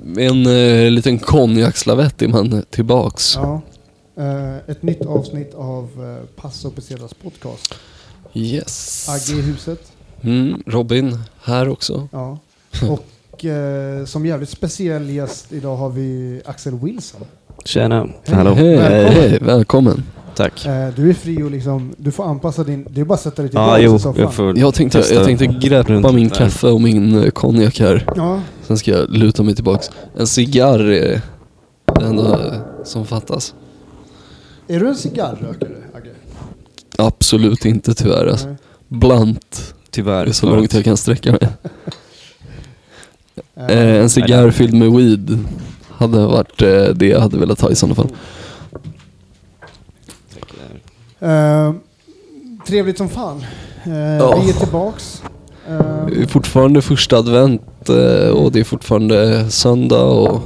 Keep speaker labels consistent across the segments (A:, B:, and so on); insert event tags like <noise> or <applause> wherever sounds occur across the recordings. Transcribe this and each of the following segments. A: En eh, liten konjakslavett är man tillbaks.
B: Ja. Eh, ett nytt avsnitt av eh, Passo Pesetas podcast.
A: Yes.
B: Agge i huset.
A: Mm, Robin här också.
C: <laughs>
B: Ja. Och eh, som jävligt speciell gäst idag har vi Axel Wilson.
C: Tjena.
B: Hej.
C: Hallå.
A: Hej,
B: Välkommen.
A: hej, välkommen.
C: Tack.
B: Eh, du är fri och liksom, du får anpassa din, det är bara liksom att sätta dig
C: Ja,
B: tillbaka
C: jo.
B: i soffan.
C: Jag får
A: Jag tänkte,
C: testa.
A: jag tänkte greppa
C: runt
A: min
C: där.
A: kaffe och min eh, konjak här.
B: Ja,
A: Sen ska jag luta mig tillbaks. En cigarr är det enda eh, som fattas.
B: är du en cigarrrökare Agge?
A: Absolut inte tyvärr. Alltså.
B: Nej.
A: Blant
C: Tyvärr.
A: är så långt jag kan sträcka mig.
B: Eh,
A: Eh, en cigarr fylld med weed hade varit eh, det jag hade velat ha i sådana fall.
B: eh, trevligt som fan. Eh, Vi är tillbaks. Eh,
A: Det är fortfarande första advent eh, och det är fortfarande söndag och...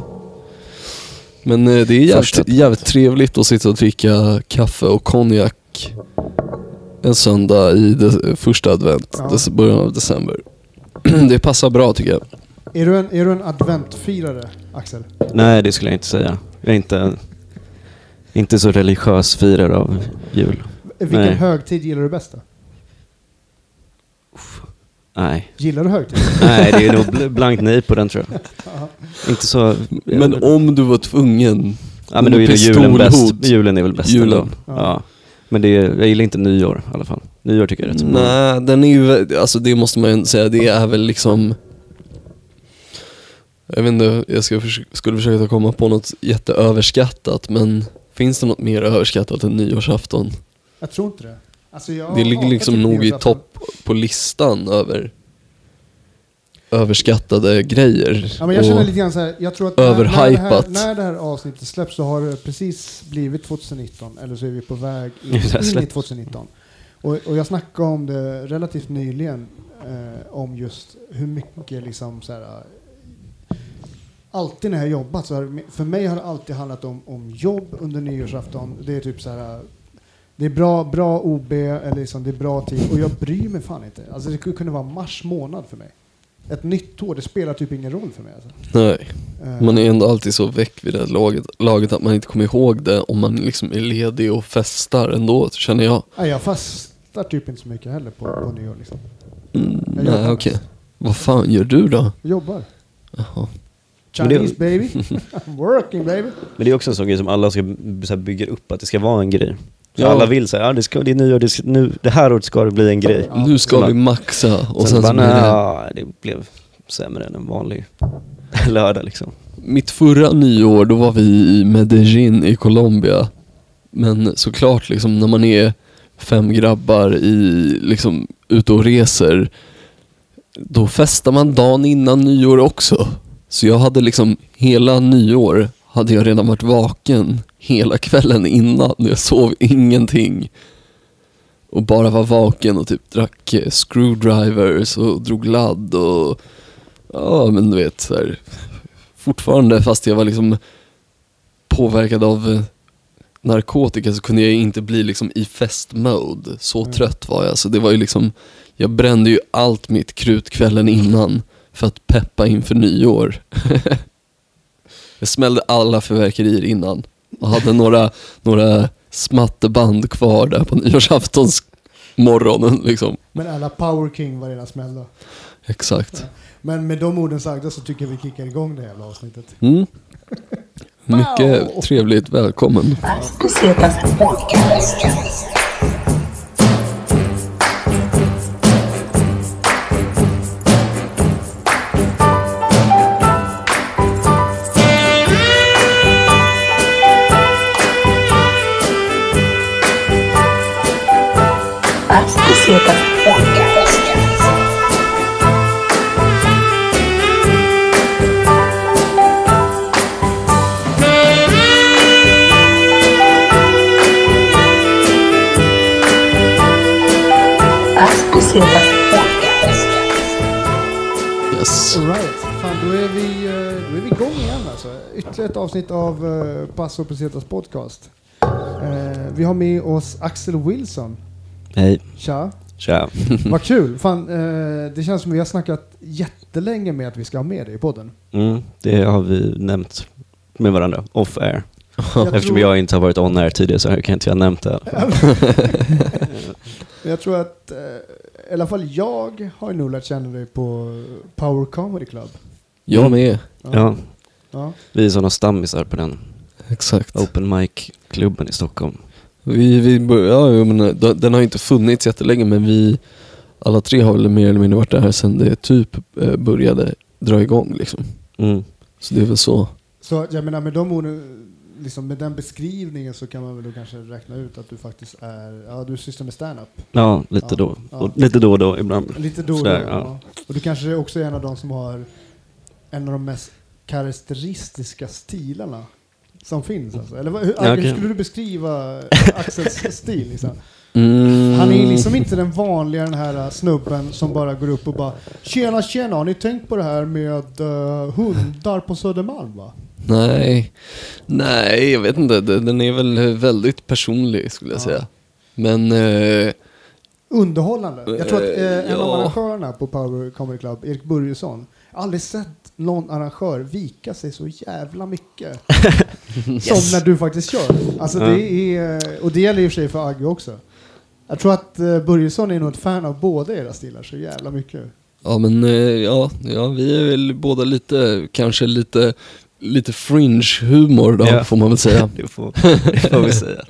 A: Men eh, det är jävligt,
C: Första advent.
A: jävligt trevligt att sitta och dricka kaffe och konjak en söndag i de, första advent,
B: Ja.
A: des- början av december. <clears throat> Det passar bra tycker jag.
B: är, du en, är du en adventfirare Axel?
C: Nej, det skulle jag inte säga. Jag är inte, inte så religiös firare av jul.
B: Vilken
C: Nej.
B: högtid gillar du bäst då?
C: Nej.
B: Gillar du högtid?
C: Nej, det är nog bl- blankt nej på den tror
B: <laughs>
C: jag. Inte så...
A: Men om du var tvungen,
C: ja, men då är det julen
A: pistolhot.
C: bäst. Julen är väl bäst
A: Julen.
C: ändå. Ja. Men det är, jag gillar inte nyår i alla fall. Nyår tycker jag är rätt så bra.
A: nej den är ju, vä- alltså det måste man ju inte säga, det är väl liksom jag vet inte, jag ska förs- skulle försöka komma på något jätteöverskattat men finns det något mer överskattat än nyårsafton?
B: Jag tror inte det. Alltså jag
A: Det ligger
B: hatar
A: liksom
B: typ
A: nog i
B: nyårsafton.
A: topp på listan över överskattade grejer.
B: Ja, men jag känner
A: Och
B: lite grann så här, jag tror att när, när, det här,
A: Överhypat.
B: när det här avsnittet släpps så har det precis blivit 2019 eller så är vi på väg in,
C: Det här
B: in i
C: släpps.
B: 2019. Och, och jag snackade om det relativt nyligen eh, om just hur mycket liksom så här eh, Alltid när jag jobbat så har för mig har det alltid handlat om, om jobb under nyårsafton. Det är typ så här eh, det är bra, bra OB, eller liksom det är bra tid och jag bryr mig fan inte. Alltså det skulle kunna vara mars månad för mig. Ett nytt år, det spelar typ ingen roll för mig. Alltså.
A: Nej,
B: Eh,
A: man är ändå alltid så väck vid det här laget, laget att man inte kommer ihåg det om man liksom är ledig och festar ändå, känner jag.
B: Nej, jag fastar typ inte så mycket heller på, på nyår. Liksom.
A: Mm,
B: Jag
A: nej,
B: jobbar
A: okej.
B: mest.
A: Vad fan gör du då?
B: Jag jobbar.
A: Jaha.
C: Men det-
B: Chinese
C: <laughs>
B: baby. I'm working baby.
C: Men det är också en sån grej som alla ska så här, bygga upp, att det ska vara en grej. Så
A: Ja.
C: Alla vill säga, ja, det, ska, det är nyår, det, ska, nu, det här året ska det bli en grej.
A: nu ska
C: Sen
A: vi maxa och
C: Och
A: sen, så
C: sen, bara,
A: blir det...
C: nej, det blev sämre än en vanlig <laughs> lördag liksom.
A: Mitt förra nyår, då var vi i Medellin i Colombia. Men såklart, liksom, när man är fem grabbar i, liksom, ute och reser, då festar man dagen innan nyår också. Så jag hade liksom, hela nyår hade jag redan varit vaken hela kvällen innan. Jag sov ingenting. Och bara var vaken och typ drack eh, screwdrivers och drog ladd och... Ja, men du vet så här, fortfarande fast jag var liksom påverkad av eh, narkotika så kunde jag ju inte bli liksom i festmode. Så
B: Mm.
A: trött var jag. Så det var ju liksom, jag brände ju allt mitt krut kvällen innan för att peppa inför nyår. <laughs> jag smällde alla fyrverkerier innan och hade några, några smatterband kvar där på nyårsaftons morgonen liksom.
B: Men alla power king var redan smällda.
A: Exakt.
B: Men med de orden sagda så tycker jag vi kickar igång det här jävla avsnittet.
A: Mm. Mycket trevligt välkommen.
D: Pesetas podcast. As Pesetas Podcast. As Pesetas Podcast.
A: Yes.
B: Alright, fan då är, vi, eh, då är vi igång igen alltså. Ytterligare ett avsnitt av eh, Passo Pesetas podcast. Eh, Vi har med oss Axel Wilson.
C: Hej.
B: Tja.
C: Tja.
B: Vad kul! Fan, eh, det känns som vi har snackat jättelänge med att vi ska ha med dig i podden.
C: Mm, det har vi nämnt med varandra, off air.
B: Jag
C: Eftersom
B: tror-
C: jag inte har varit on air tidigare så kan inte jag ha nämnt det. i alla fall.
B: Jag tror att, eh, i alla fall jag har nog lärt känna dig på Power Comedy Club. Mm.
A: Jag med.
C: Ja,
B: Ja.
C: vi är sådana stammisar på den
A: Exakt.
C: open mic-klubben i Stockholm.
A: Vi, vi, bör- ja, jag menar, d- den har ju inte funnits jättelänge men vi alla tre har väl mer eller mindre varit där sedan det typ eh, började dra igång liksom.
C: Mm.
A: Så det är väl så.
B: Så att jag menar med de orden, liksom med den beskrivningen så kan man väl då kanske räkna ut att du faktiskt är, ja du sysslar med stand-up.
C: Ja, lite
B: Ja,
C: då
B: ja.
C: och lite då och då ibland.
B: Lite då och då.
C: Sådär, ja.
B: ja. Och du kanske också är en av de som har en av de mest karaktäristiska stilarna som finns alltså. Eller vad- hur,
C: Ja,
B: hur
C: okej.
B: skulle du
C: <laughs>
B: beskriva Axels stil liksom?
A: Mm.
B: Han är liksom inte den vanliga den här äh, snubben som bara går upp och bara Tjena tjena, har ni tänkt på det här med äh, hundar på Södermalm va?
A: Nej. Nej, jag vet inte. Den den är väl eh, väldigt personlig skulle jag
B: Ja.
A: säga. Men eh,
B: Underhållande. Jag tror att
A: Eh,
B: eh, en av
A: ja.
B: arrangörerna på Power Comedy Club, Erik Börjesson, aldrig sett någon arrangör vika sig så
A: <laughs>
B: jävla mycket som när du faktiskt kör. Alltså
C: Ja.
B: det är, och det gäller i och för sig för Agge också. Jag tror att eh, Börjesson är nog ett fan av båda era stilar så jävla mycket.
A: Ja men eh, ja, ja, vi är väl båda lite, kanske lite, lite fringe-humor då
C: Ja.
A: får man väl
C: <laughs>
A: säga.
C: Det får, det får
A: <laughs>
C: vi säga.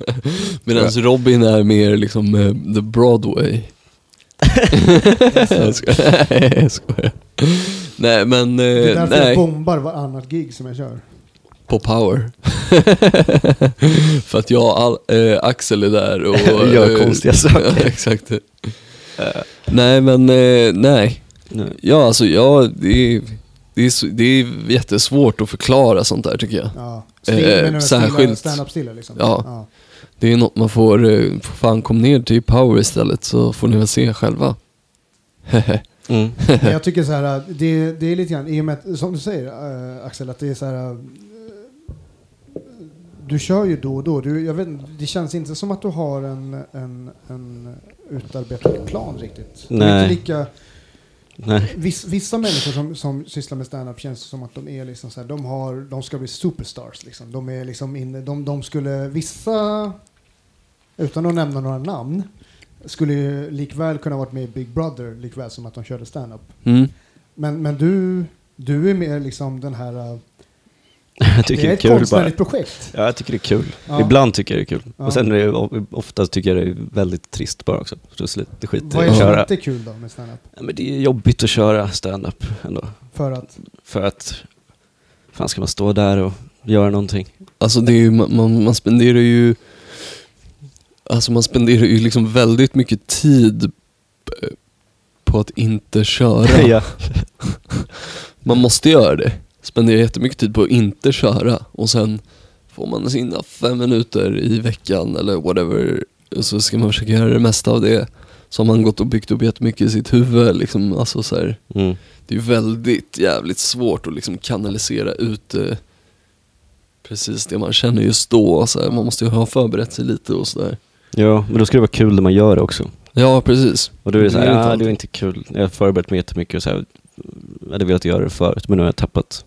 A: Medan Robin är mer liksom eh, the
C: <laughs>
A: Broadway. jag skojar. <laughs> Nej, jag skojar. Nej men,
B: Det är
A: eh,
B: därför jag
A: nej,
B: bombar varannat gig som jag kör.
A: på power. <laughs> För att jag och Al- eh, Axel är där och...
C: <laughs> Gör
A: eh,
C: konstiga saker.
A: <laughs> ja, exakt. Nej men, eh, nej.
C: Nu.
A: Ja, alltså jag, det, är, det, är, så- det är jättesvårt att förklara sånt där tycker jag.
B: Ja.
A: Eh, särskilt-
B: Stand-up stilar liksom.
A: Ja. Det är något man får, eh, får fan kom ner till power istället så får ni väl se själva.
C: Mm.
B: Men Jag tycker så här, eh, det, det är lite grann, i och med att, som du säger eh, Axel, att det är så här. eh, du kör ju då och då. Du, jag vet, inte, det känns inte som att du har en, en, en utarbetad plan riktigt. Det är
C: Nej.
B: inte lika,
C: Nej. <laughs>
B: viss, vissa människor som, som sysslar med stand-up känns som att de är liksom så här, de, har, de ska bli superstars. Liksom. De är liksom inne, de, de skulle, vissa, utan att nämna några namn, skulle ju likväl kunna varit med i Big Brother, likväl som att de körde stand-up.
A: Mm.
B: Men, men du, du är mer liksom den här... äh,
C: Jag
B: Det
C: tycker
B: är
C: det är
B: ett
C: kul bara.
B: konstnärligt projekt.
C: Ja, jag tycker det är kul.
B: Ja.
C: Ibland tycker jag det är kul.
B: Ja.
C: Och sen är det, o- oftast tycker jag det är väldigt trist bara också. Så sli- det skiter
B: Vad
C: jag
B: är det
C: i att
B: som
C: köra.
B: inte är kul då med stand-up?
C: Ja, men det är jobbigt att köra stand-up ändå.
B: För att...
C: För att, fan ska man stå där och göra någonting?
A: Alltså det är ju, man, man, man spenderar ju, alltså man spenderar ju liksom väldigt mycket tid p- på att inte
C: <laughs>
A: köra.
C: ja.
A: Man måste göra det. Spendera jättemycket tid på att inte köra och sen får man sina fem minuter i veckan eller whatever och så ska man försöka göra det mesta av det. Så har man gått och byggt upp jättemycket i sitt huvud liksom, alltså så här.
C: Mm.
A: Det är ju väldigt jävligt svårt att liksom kanalisera ut eh, precis det man känner just då. Så här, man måste ju ha förberett sig lite och sådär.
C: ja, men då ska det vara kul när man gör det också.
A: Ja, precis.
C: Och då är det så här,
A: Det är
C: ja
A: inte
C: det
A: alltid."
C: är inte kul. Jag har förberett mig jättemycket och så här, jag hade velat göra det förut men nu har jag tappat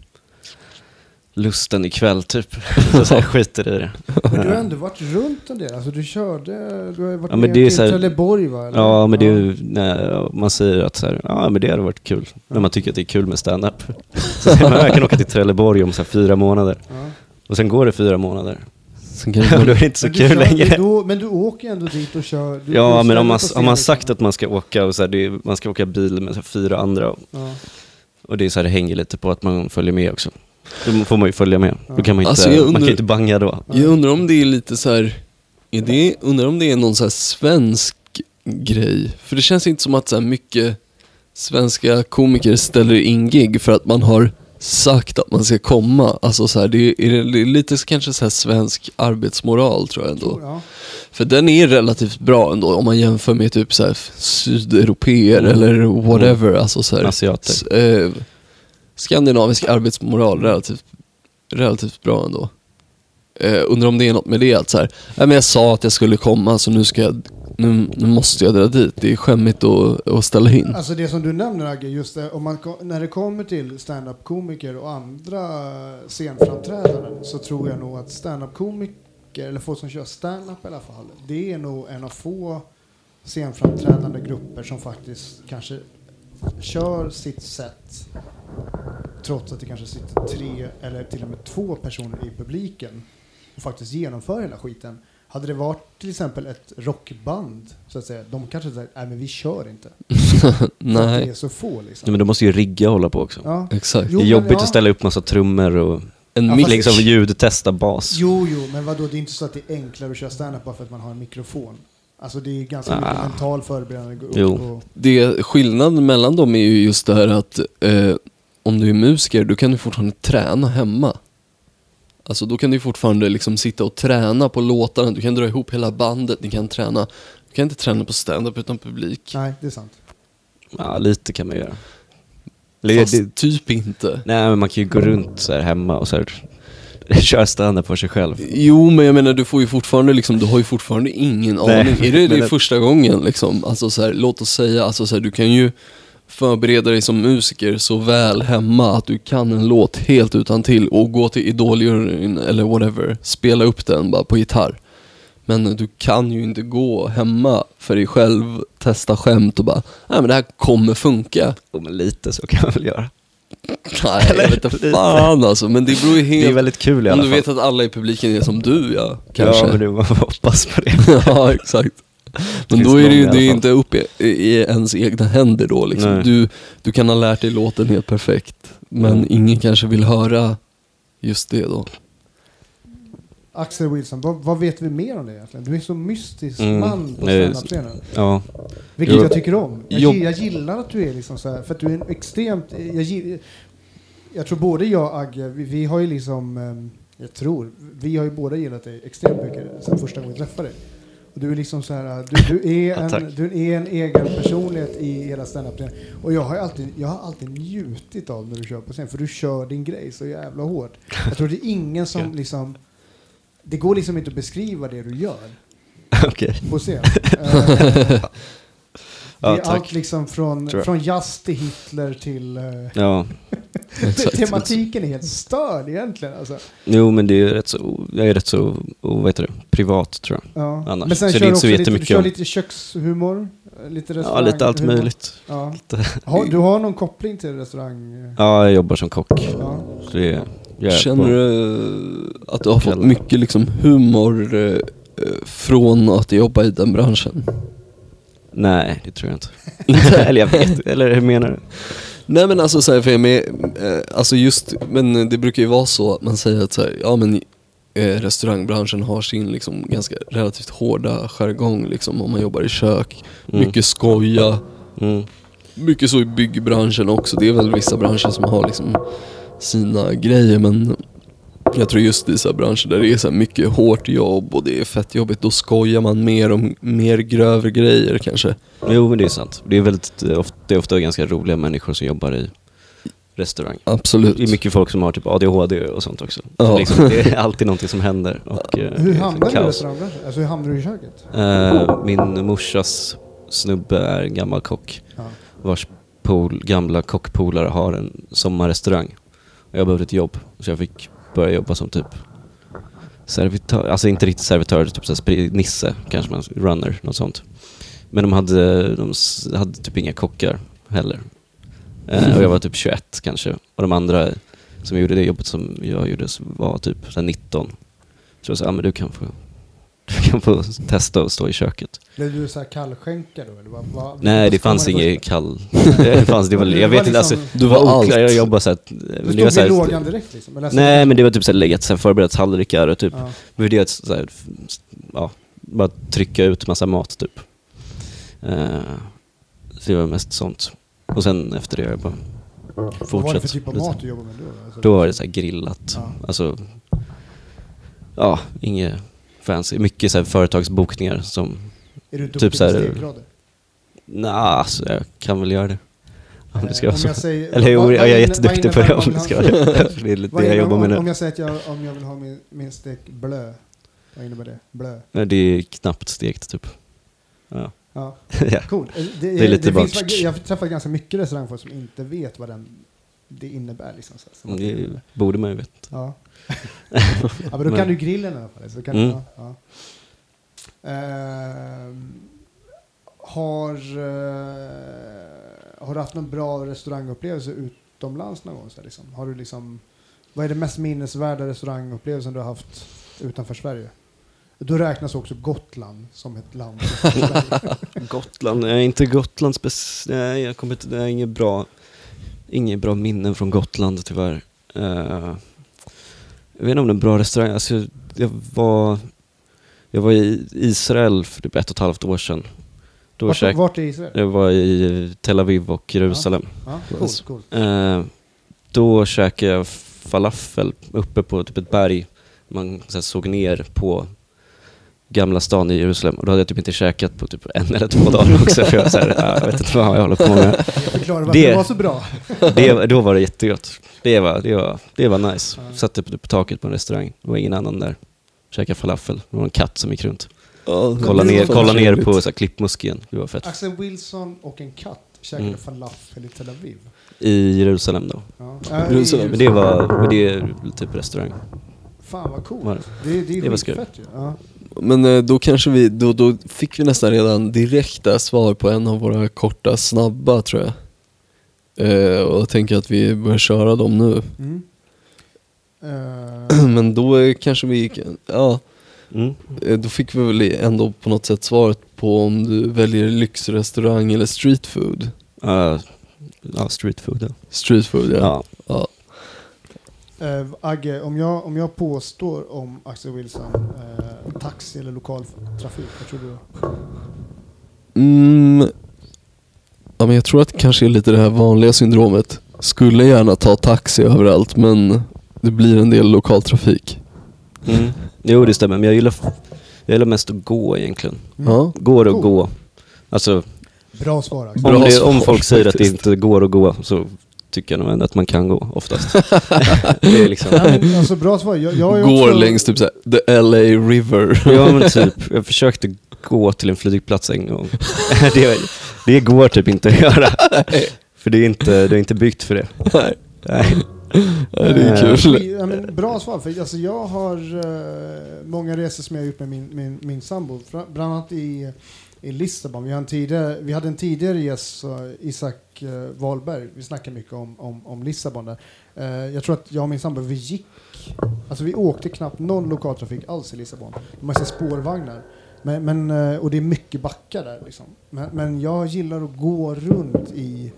C: lusten ikväll typ. <laughs>
B: <laughs>
C: så, så jag skiter i det.
B: Men du har ändå varit runt en del. Alltså du körde... Du har ju varit
C: Ja, men
B: med
C: det är
B: till
C: så här-
B: Trelleborg va? eller?
C: Ja, men det är ju, när man säger att så här, ja men det hade varit kul. När man tycker att det är kul med stand-up. <laughs> Så säger man, jag kan åka till Trelleborg om så här fyra månader.
B: Ja.
C: Och sen går det fyra månader.
A: Sen
C: Då <laughs>
A: kan
C: är
A: man,
C: det inte så
B: Men du
C: kul
B: kör- det är
C: längre.
B: Då, men du åker ju ändå dit och kör... Du,
C: Ja,
B: du
C: men om man,
B: ställer på
C: om man
B: scen,
C: sagt att man ska åka och så här, det är, man ska åka bil med så här, fyra andra och-
B: Ja.
C: och det är så här, det hänger lite på att man följer med också. Då får man ju följa med. Då kan man inte,
A: Alltså, jag
C: man
A: undrar-
C: kan ju inte banga då.
A: jag undrar om det är lite så här, är det, undrar om det är någon så här svensk grej. För det känns inte som att så här mycket svenska komiker ställer in gig för att man har sagt att man ska komma. Alltså så här, det är, är det lite så- kanske så här svensk arbetsmoral tror jag ändå.
B: Ja.
A: För den är relativt bra ändå om man jämför med typ så här sydeuropeer
C: Mm.
A: eller whatever. Alltså så här,
C: Asiater.
A: s- eh, skandinavisk arbetsmoral relativt, relativt bra ändå. Eh, undrar om det är något med det att så här, nej men jag sa att jag skulle komma så nu ska jag nu, nu måste jag dra dit. Det är skämmigt att, att ställa in.
B: Alltså det som du nämner Agge, just det, om man, ko- när det kommer till stand-up-komiker och andra scenframträdanden så tror jag nog att stand-up-komiker, eller folk som kör stand-up i alla fall, det är nog en av få scenframträdande grupper som faktiskt kanske kör sitt sätt trots att det kanske sitter tre eller till och med två personer i publiken och faktiskt genomför hela skiten. Hade det varit till exempel ett rockband, så att säga, de kanske säger nej men vi kör inte. För att Det
A: Nej,
B: är så få liksom.
C: Nej, men du måste ju rigga och hålla på också.
B: Ja.
A: exakt.
B: Jo,
C: det är
B: men
C: jobbigt
B: ja.
C: att ställa upp massa trummor och
A: En
B: Ja,
A: mick.
B: fast-
C: liksom ljudtesta bas.
B: Jo, jo, men vadå, det är inte så att det är enklare att köra standup bara för att man har en mikrofon. Alltså det är ganska mycket
C: Ah.
B: mental förberedande. Gå upp
C: Jo.
B: Och,
A: det, skillnaden mellan dem är ju just det här att eh, om du är musiker, då kan du fortfarande träna hemma. Alltså då kan du fortfarande liksom sitta och träna på låtarna, du kan dra ihop hela bandet, ni kan träna. Du kan inte träna på stand-up utan publik.
B: nej, det är sant.
C: Ja, lite kan man göra. Eller,
A: Fast
C: det,
A: typ inte.
C: nej, men man kan ju gå runt så här hemma och så här, <laughs> köra standup för sig själv.
A: Jo, men jag menar du får ju fortfarande liksom, du har ju fortfarande ingen
C: Nej,
A: aning. Är det,
C: men
A: det
C: det-
A: första gången liksom? Alltså så här, låt oss säga, alltså så här, du kan ju förbereda dig som musiker så väl hemma att du kan en låt helt utan till och gå till idol eller whatever, spela upp den bara på gitarr. Men du kan ju inte gå hemma för dig själv, testa skämt och bara, nej men det här kommer funka.
C: Jo, men lite så kan man väl göra.
A: Nej, jag vet inte
C: lite.
A: fan alltså, men det beror ju
C: Det
A: helt...
C: är väldigt kul i alla
A: om
C: fall.
A: du vet att alla i publiken är som du, ja, kanske.
C: Ja, men du man får hoppas på det.
A: <laughs>
C: <laughs>
A: ja, exakt. Men
C: finns
A: då är det
C: många i
A: ju
C: alla
A: det är ju
C: fall.
A: inte upp i, i ens egna händer då liksom.
C: Nej.
A: Du, du kan ha lärt dig låten helt perfekt, men
C: Mm.
A: ingen kanske vill höra just det då.
B: Axel Wilson, vad, vad vet vi mer om det egentligen? Du är så mystisk
C: Mm,
B: man på
C: nej,
B: standup-scenen.
C: Ja,
B: Vilket
C: Jo.
B: jag tycker om. Jag,
A: Jo.
B: gi- jag gillar att du är liksom så här, för att du är en extremt... Jag, gi- jag tror både jag och Agge, vi, vi har ju liksom... ehm, Jag tror, vi har ju båda gillat dig extremt mycket sen första gången vi träffade dig. Och du är liksom så här, du, du, är,
C: Ja, tack.
B: en, du är en egen personlighet i hela standup Och jag har, ju alltid, jag har alltid njutit av när du kör på scen, för du kör din grej så jävla hårt. Jag tror det är ingen som
C: Tack.
B: liksom... Det går liksom inte att beskriva det du gör
C: okej.
B: på
C: <laughs>
B: scen. Eh,
C: Ja,
B: det är
C: tack.
B: allt liksom från,
C: Tror jag.
B: från jazz till Hitler till...
C: <laughs>
B: eh,
C: Ja,
A: Exakt.
B: tematiken är helt störd egentligen. Alltså.
C: jo men det är ju rätt så, jag är rätt så, oh, vad heter det, privat tror jag.
B: Ja.
C: Annars
B: Men sen
C: så är det
B: kör du
C: inte så
B: också lite, du
C: jättemycket
B: kör
C: om-
B: lite kökshumor, eh, lite
C: Ja,
B: restaurang.
C: lite allt möjligt.
B: Ja. Har, du har någon koppling till restaurang? eh,
C: Ja, jag jobbar som kock.
B: Ja.
C: Så det är, jag är
A: Känner
C: på-
A: du att du har fått
C: Kvällar.
A: mycket liksom humor eh, eh, från att jobba i den branschen?
C: Nej, det tror jag <laughs> inte. eller jag vet eller hur menar du?
A: Nej men alltså så här, för jag med, eh, alltså just, men det brukar ju vara så att man säger att så här, ja men eh, restaurangbranschen har sin liksom ganska relativt hårda jargong liksom om man jobbar i kök.
C: Mm.
A: Mycket skoja,
C: Mm.
A: mycket så i byggbranschen också. Det är väl vissa branscher som har liksom sina grejer men jag tror just i så här branscher där det är så här mycket hårt jobb och det är fett jobbigt, då skojar man mer om mer grövre grejer kanske.
C: Jo, men det är sant. Det är, väldigt, eh, ofta, det är ofta ganska roliga människor som jobbar i restaurang.
A: Absolut.
C: Det är mycket folk som har typ ADHD och sånt också. Så
A: Ja.
C: Liksom, det är alltid någonting som händer. Och, eh, det
B: Hur
C: är
B: hamnade du i
C: kaos.
B: restaurangbranschen? Alltså hur hamnade du i köket?
C: Eh, Min morsas snubbe är en gammal kock
B: Ja.
C: vars pol, gamla kockpolare har en sommarrestaurang. Och Jag behövde ett jobb så jag fick börja jobba som typ servitör, alltså inte riktigt servitör, typ så här spri- nisse kanske man, runner, något sånt. Men de hade, de s- hade typ inga kockar heller. Eh, och jag var typ 21 kanske. Och de andra som gjorde det jobbet som jag gjorde så var typ så här 19. Så jag sa, ah, men du kan få du kan få testa att stå i köket.
B: Blev du så här kallskänka då? Eller vad, vad,
C: Nej, det
B: vad ska
C: fanns
B: man-
C: inget kall... <laughs> det fanns, det var,
B: Det
C: jag
B: var
C: vet inte, alltså,
B: liksom-
A: Du var
C: oklar,
A: allt.
C: Jag jobbade såhär...
B: Du stod vid lågan direkt liksom? Eller, alltså-
C: Nej, men det var typ såhär lägga, såhär, förbereda tallrikar och typ,
B: Ja.
C: värderat såhär, f- ja, bara trycka ut massa mat typ. Eh, så det var mest sånt. Och sen efter det har jag bara fortsatt.
B: Vad var det för typ av
C: lite.
B: mat du jobbade med då? Alltså,
C: Då var det såhär grillat,
B: Ja.
C: alltså, ja, inget fancy. Mycket såhär företagsbokningar som
B: Är du duktig
C: typ så
B: på
C: här-
B: steggrader?
C: Nej, alltså jag kan väl göra det. Om det ska
B: Eh,
C: vara
B: om
C: så.
B: jag säger-
C: Eller
B: vad-
C: jo,
B: vad
C: jag är
B: inne-
C: jätteduktig
B: vad
C: på det
B: innebär
C: om det ska vara
B: man-
C: det. För det är lite
B: Vad
C: <laughs> det jag
B: innebär-
C: jobbar med
B: om,
C: nu.
B: om jag säger att jag, om jag vill ha min, min stek blö, vad innebär det? Blö?
C: Nej, Det är knappt stekt typ. <laughs> Ja.
B: Ja,
C: ja.
B: cool. Eh, Det,
C: Det är lite bara-
B: finns, faktiskt- Jag träffar ganska mycket restaurangfolk som inte vet vad den, det innebär. Liksom, så här, som-
C: Mm, Det borde man ju veta. <laughs>
B: Ja. ja, men då kan
C: Men-
B: du grillen i alla fall. Så kan du,
C: Mm.
B: ja, ja. Ehm, har, eh, har du haft någon bra restaurangupplevelse utomlands någon gång? Så här, liksom? Har du liksom, vad är det mest minnesvärda restaurangupplevelsen du har haft utanför Sverige? Då räknas också Gotland som ett
C: <laughs>
B: land.
C: Gotland, nej inte Gotland spec- nej jag kommer inte, det är inget bra, inget bra minnen från Gotland tyvärr. Eh, jag vet inte om det är en bra restaurang, alltså jag var, jag var i Israel för typ ett och ett halvt år sedan. Då
B: vart,
C: käk,
B: vart är Israel?
C: jag var i Tel Aviv och Jerusalem.
B: Ja, cool, cool.
C: Eh, då käkade jag falafel uppe på typ ett berg. Man så här, såg ner på Gamla stan i Jerusalem. Och då hade jag typ inte käkat på typ en eller två
A: <laughs>
C: dagar också. För jag, var så här, "Ah, jag vet inte vad jag håller på med.
B: Förklara varför det
C: Det-
B: var så bra.
C: Det, då var det jättegott. Det var, det var, det var nice. Satt på, på taket på en restaurang. Det var ingen annan där. Käkade falafel. Det var en katt som gick runt.
A: Ja, Mm. det
C: Kolla
A: är
C: ner,
A: fan
C: kolla ner
A: trevligt.
C: på så här, klippmuskeln. Det var fett.
B: Axel Wilson och en katt käkade
C: Mm.
B: falafel i Tel Aviv.
C: I Jerusalem då.
B: Ja. Äh,
A: Jerusalem.
B: i-
C: Men det var, men det är typ restaurang.
B: Fan vad coolt.
C: Var det?
B: Det, det är
C: Det var
B: skitfett ju. Ja.
A: Men eh, då kanske vi, då, då fick vi nästan redan direkta svar på en av våra korta snabba tror jag. Eh, och jag tänker att vi börjar köra dem nu. <clears throat>
B: Mm. Eh,
A: Men då eh, kanske vi, kan- ja,
C: Mm.
A: eh, då fick vi väl ändå på något sätt svaret på om du väljer lyxrestaurang eller street food.
C: Eh, ja, street food. Ja.
A: Street food ja.
C: Ja.
A: ja.
B: eh, Agge, om jag, om jag påstår om Axel Wilson eh, taxi eller lokaltrafik, vad tror du?
A: Mm. Ja, men jag tror att det kanske är lite det här vanliga syndromet. Skulle gärna ta taxi överallt men det blir en del lokaltrafik.
C: Mm. Jo, det stämmer. Men jag gillar, jag gillar mest att gå egentligen.
B: Mm.
A: Ja.
C: Går och
B: Cool.
C: gå. Alltså,
B: Bra svar Axel.
A: Bra
C: om, det,
A: svar,
C: om folk säger att det
A: faktiskt.
C: inte går att gå så tycker jag nog ändå att man kan gå oftast. <laughs> det är liksom,
B: Ja, men, alltså, bra svar. Jag, jag är
A: Går
B: också,
A: längs typ såhär, the LA river.
C: ja, men typ, jag försökte gå till en flygplats en gång. <laughs> det, det går typ inte att göra. för det är inte, det är inte byggt för det.
A: <laughs> Nej,
C: Nej.
A: nej, det är
C: Eh,
A: kul.
B: Ja, men, bra svar. För, alltså, jag har eh, många resor som jag har gjort med min, min, min sambo. Fra- Bland annat i, i Lissabon. Vi, har en tidigare, vi hade en tidigare gäst, så Isak eh, Wahlberg. Vi snackade mycket om, om, om Lissabon där. Eh, jag tror att jag och min sambo, vi gick... Alltså vi åkte knappt någon lokaltrafik alls i Lissabon. Det är massa spårvagnar. Men, men, eh, och det är mycket backar där. Liksom. Men, men jag gillar att gå runt i,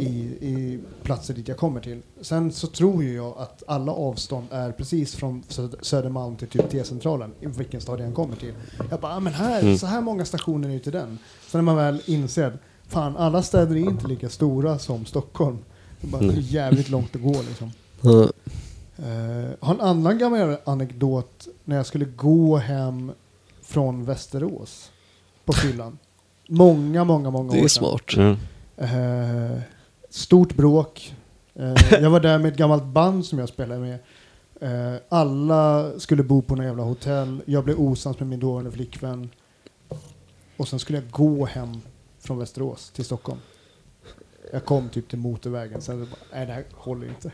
B: i, i platser dit jag kommer till. Sen så tror ju jag att alla avstånd är precis från Sö- Södermalm till typ T-centralen, i vilken stad jag än kommer till. Jag bara, ah, men här,
A: Mm.
B: så här många stationer är ju till den. Sen när man väl inser, fan alla städer är inte lika stora som Stockholm. Det är bara
A: Mm.
C: Nej.
B: jävligt långt att gå liksom.
A: Ja.
B: Eh, har en annan gammal anekdot när jag skulle gå hem från Västerås på fyllan. Många, många, många år
A: Det är
B: sedan.
A: smart.
C: Mm.
B: Eh, stort bråk. Eh, jag var där med ett gammalt band som jag spelade med. Eh, alla skulle bo på något jävla hotell. Jag blev osams med min dåvarande flickvän. Och sen skulle jag gå hem från Västerås till Stockholm. Jag kom typ till motorvägen. Sen bara, nej det här håller inte.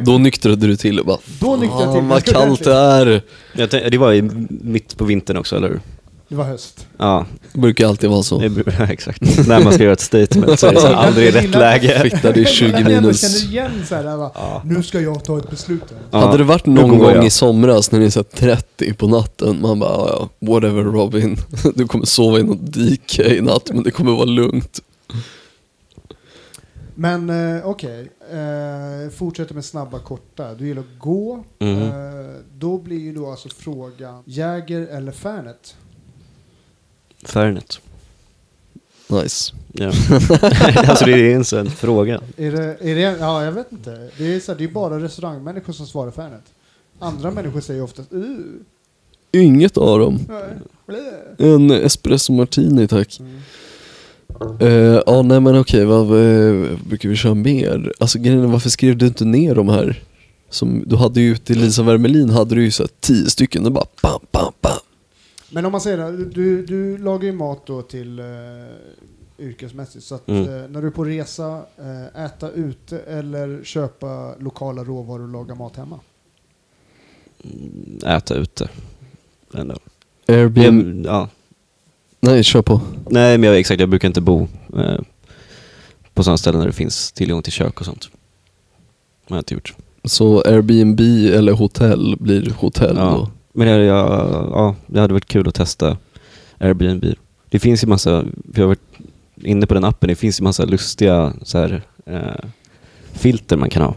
A: Då nyktrade du till och bara,
B: Då nyktrade jag till.
A: "Fan, vad kallt det är.
C: Jag tänkte, det var ju mitt på vintern också, eller hur?
B: Det var höst.
C: Ja,
A: Det brukar alltid vara så.
C: det <laughs> beror- exakt. När man ska göra ett statement så är det så här, aldrig rätt läge.
A: Fitta, det är 20
B: Jag ändå
A: minus.
B: känner igen så här, jag bara,
C: Ja.
B: nu ska jag ta ett beslut. här."
C: Ja,
A: Hade det varit
C: nu
A: någon
C: går
A: gång
C: jag.
A: i somras när det är så här 30 på natten, man bara "Ja, ja, whatever Robin, <laughs> du kommer sova i något dike i natt men det kommer vara lugnt.
B: Men eh, okej, eh, fortsätter med snabba korta. Du gillar att gå.
C: Mm.
B: Eh, då blir ju då alltså frågan Jäger eller Fernet?
C: Fairnet.
A: Nice.
C: Ja. <laughs> alltså det är ens en fråga.
B: Är det, är det, ja, jag vet inte. Det är, så här, det är bara restaurangmänniskor som svarar Fernet.
C: Mm.
B: Andra människor säger oftast uh,
A: Inget av dem.
C: Mm.
B: nej, blä."
A: En espresso martini tack.
B: Mm.
A: Eh, Ja, nej men okej, vad eh, brukar vi köra mer? Alltså grejen är, varför skrev du inte ner de här? Som, du hade ju till Lisa Wermelin hade du ju så här 10 stycken, det bara bam, bam, bam.
B: Men om man säger det, du, du lagar ju mat då till eh, yrkesmässigt. Så att
C: Mm.
B: eh, när du är på resa, eh, äta ute eller köpa lokala råvaror och laga mat hemma.
C: Mm, Äta ute. Ändå.
A: Airbnb?
C: Ja.
A: Nej, kör på.
C: Nej, men jag, exakt. Jag brukar inte bo eh, på sådana ställen där det finns tillgång till kök och sånt. Det har jag inte gjort.
A: Så Airbnb eller hotell blir hotell
C: Ja.
A: då?
C: Men jag, jag, ja, det hade varit kul att testa Airbnb. Det finns ju massa, vi har varit inne på den appen, det finns ju massa lustiga så här, eh, filter man kan ha.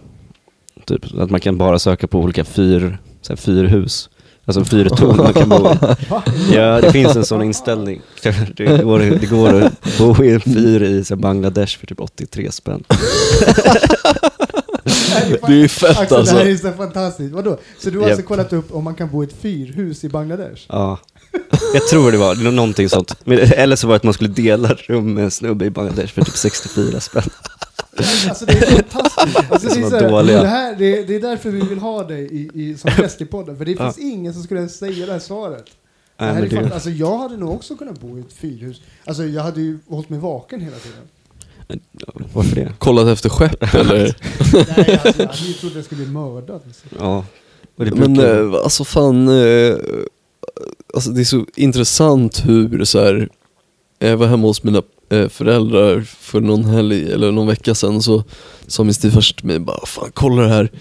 C: Typ att man kan bara söka på olika fyr, så här, fyrhus. Alltså fyrtorn man kan bo i.
B: Va?
C: Ja, <laughs> det finns en sån inställning. <laughs> Det går, det går att bo i en fyr i så här, Bangladesh för typ 83 spänn.
A: Det är ju fett
B: Axel,
A: alltså.
B: det här är så fantastiskt. Vadå? Så du har
C: Japp.
B: alltså kollat upp om man kan bo i ett fyrhus i Bangladesh?
C: Ja. <laughs> Jag tror det var, det var någonting sånt. Men, eller så var det att man skulle dela rum med en snubbe i Bangladesh för typ 64 spänn.
B: Alltså det är fantastiskt. Alltså, det,
C: Såna
B: är så här,
C: dåliga.
B: det, här, det, är, det är därför vi vill ha dig i, i, som gäst i podden. För det finns ingen som skulle ens säga det här svaret. Det
C: Nej,
B: här är
C: men
B: fan,
C: det,
B: alltså jag hade nog också kunnat bo i ett fyrhus. Alltså jag hade ju hållit mig vaken hela tiden.
C: varför det?
A: Kollat efter skepp eller?
B: Nej, alltså, jag hade ju trott att jag skulle bli mördad. Alltså.
C: Ja. Och det
A: Men
C: brukar-
A: eh, alltså fan, eh, alltså det är så intressant hur så här, jag var hemma hos mina eh, föräldrar för någon helg eller någon vecka sedan så sa min styvfarsa till mig bara, fan kolla det här.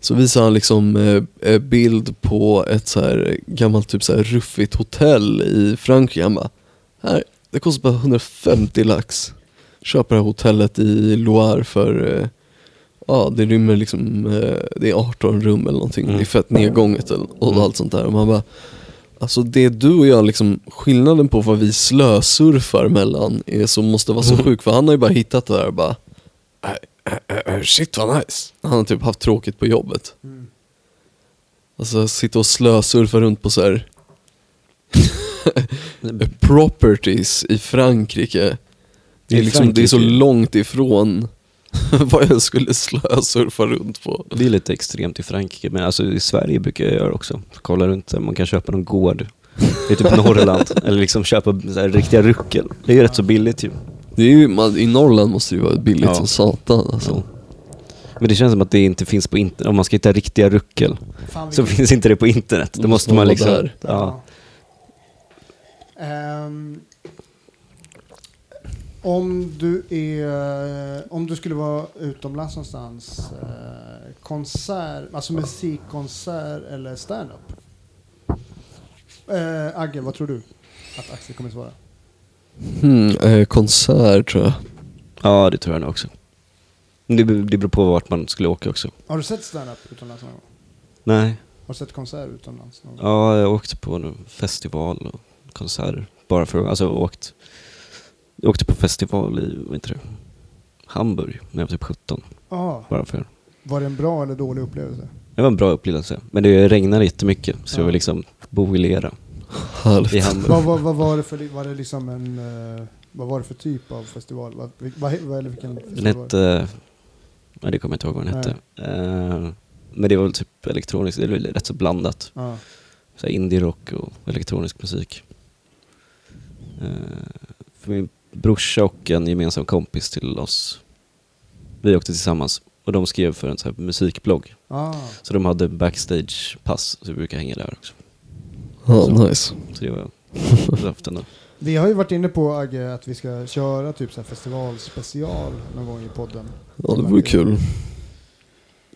A: Så visade han liksom eh, eh, bild på ett så här gammalt typ så här ruffigt hotell i Frankrike. Han bara, här, det kostar bara 150 lax. Köpa det här hotellet i Loire för eh, Ja, det rymmer liksom, eh, det är 18 rum eller någonting.
C: Mm.
A: Det är fett nedgånget eller- och
C: Mm.
A: allt sånt där. Och man bara, alltså det du och jag liksom, skillnaden på vad vi slösurfar mellan är så måste vara
C: Mm.
A: så sjuk. För han har ju bara hittat det där och bara, "Äh, äh, äh, shit vad nice. Han har typ haft tråkigt på jobbet.
B: Mm.
A: Alltså sitta och slösurfa runt på så här eh, properties i Frankrike. Det är,
C: I
A: liksom, det är så
C: Frankrike.
A: långt ifrån <laughs> vad jag skulle slösurfa runt på.
C: Det är lite extremt i Frankrike, men alltså i Sverige brukar jag göra också. Kolla runt, där, man kan köpa någon gård i typ Norrland, eller liksom köpa så här, riktiga ruckel. Det är ju rätt så billigt ju.
A: Det är ju, man, I Norrland måste det ju vara billigt
C: Ja.
A: som satan alltså.
C: Men det känns som att det inte finns på internet, om man ska hitta riktiga ruckel,
B: Fan,
C: så
B: vilken-
C: finns inte det på internet.
A: Då
C: Då
A: måste
C: måste
A: man
C: man
A: vara
C: liksom...
A: där.
C: Ja.
B: Ehm, om, du är, om du skulle vara utomlands någonstans, eh, konsert, alltså musikkonsert eller stand-up? Eh, Agge, vad tror du att Axel kommer svara?
A: Hmm, eh, konsert tror jag.
C: ja, det tror jag nog också. Men Det, det beror på vart man skulle åka också.
B: Har du sett stand-up utomlands någon gång?
C: Nej,
B: Har du sett konsert utomlands någon gång?
C: Ja, jag åkte på en festival och konserter. Bara för alltså jag åkt. Jag åkte på festival i, vad heter det? Hamburg när jag var typ 17.
B: Ja.
C: Bara för.
B: Ah, Var det en bra eller dålig upplevelse?
C: Det var en bra upplevelse. Men det regnade jättemycket så
B: Ja.
C: jag var liksom bo i lera i
A: Härligt.
C: Hamburg.
B: vad, vad, vad var det för, li- var det liksom en, eh, vad var det för typ av festival? Vad, vil- vad, vad, eller vilken festival?
C: Den hette... Nej, det kommer jag inte ihåg vad den hette. Eh, men det var väl typ elektronisk, det var väl rätt så blandat.
B: Ja.
C: Så här indie-rock och elektronisk musik. Eh, för min brorsa och en gemensam kompis till oss, vi åkte tillsammans och de skrev för en så här musikblogg.
B: Ah.
C: Så de hade backstage-pass, så vi brukar hänga där också.
A: Ja, nice.
C: Så det <laughs> var löften då.
B: Vi har ju varit inne på Agge att vi ska köra typ så här festivalspecial någon gång i podden.
A: Ja, det vore kul.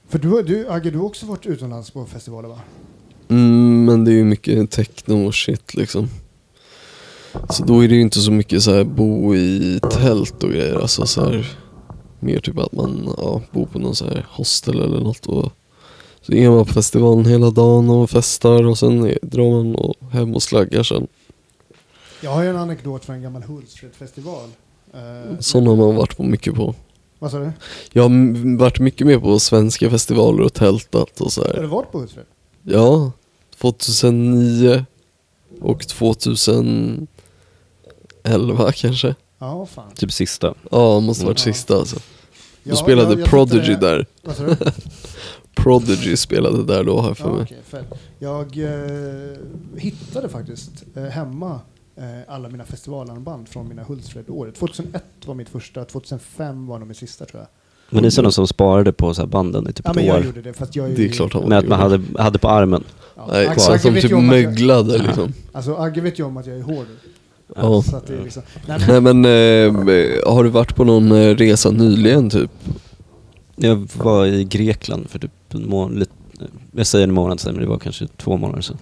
B: För du, du Agge, du har också varit utomlands på festivaler va?
A: Mm, men det är ju mycket techno och shit liksom. Så då är det ju inte så mycket så här bo i tält och grejer. Alltså så här, mer typ att man ja, bor på någon så här hostel eller något. Och så är man på festivalen hela dagen och festar och sen är, drar man och hem och slaggar sen.
B: Jag har ju en anekdot från en gammal Hultsfredsfestival. Eh,
A: Sådana har man varit på mycket på.
B: Vad sa du?
A: Jag har m- varit mycket med på svenska festivaler och tältat och så
B: Har du
A: här.
B: varit på Hultsfred?
A: Ja, 2009 och 2011 kanske.
B: Ja, fan.
C: Typ sista.
A: Ja, måste varit
B: Mm.
A: sista alltså. Då
B: Ja,
A: spelade
B: jag- jag
A: Prodigy <laughs>
B: tittade-
A: där.
B: Vad sa du?
A: Prodigy spelade där då har jag för
B: Ja,
A: mig.
B: okej, fett. jag eh, hittade faktiskt eh, hemma eh, alla mina festivalarmband från mina Hultsfred-året. 2001 var mitt första, 2005 var nog mitt sista tror jag.
C: Men ni är sådana som sparade på så här banden i typ
B: Ja,
C: ett
B: men jag
C: år.
B: gjorde det. Fast jag är ju-
A: Det är klart han
C: Med att man
A: gjorde.
C: hade, hade på armen.
B: Ja,
A: Nej,
B: Agge-
A: kvar,
B: Agge
A: som
B: vet
A: typ
B: ju om att jag-
A: möglade liksom.
B: Alltså Agge vet ju om att jag är hård.
A: Ja.
B: Så att det är liksom, nej, men,
A: Nej men, eh, har du varit på någon eh, resa nyligen typ?
C: Jag var i Grekland för typ en månad, jag säger en månad sedan men det var kanske två månader sedan.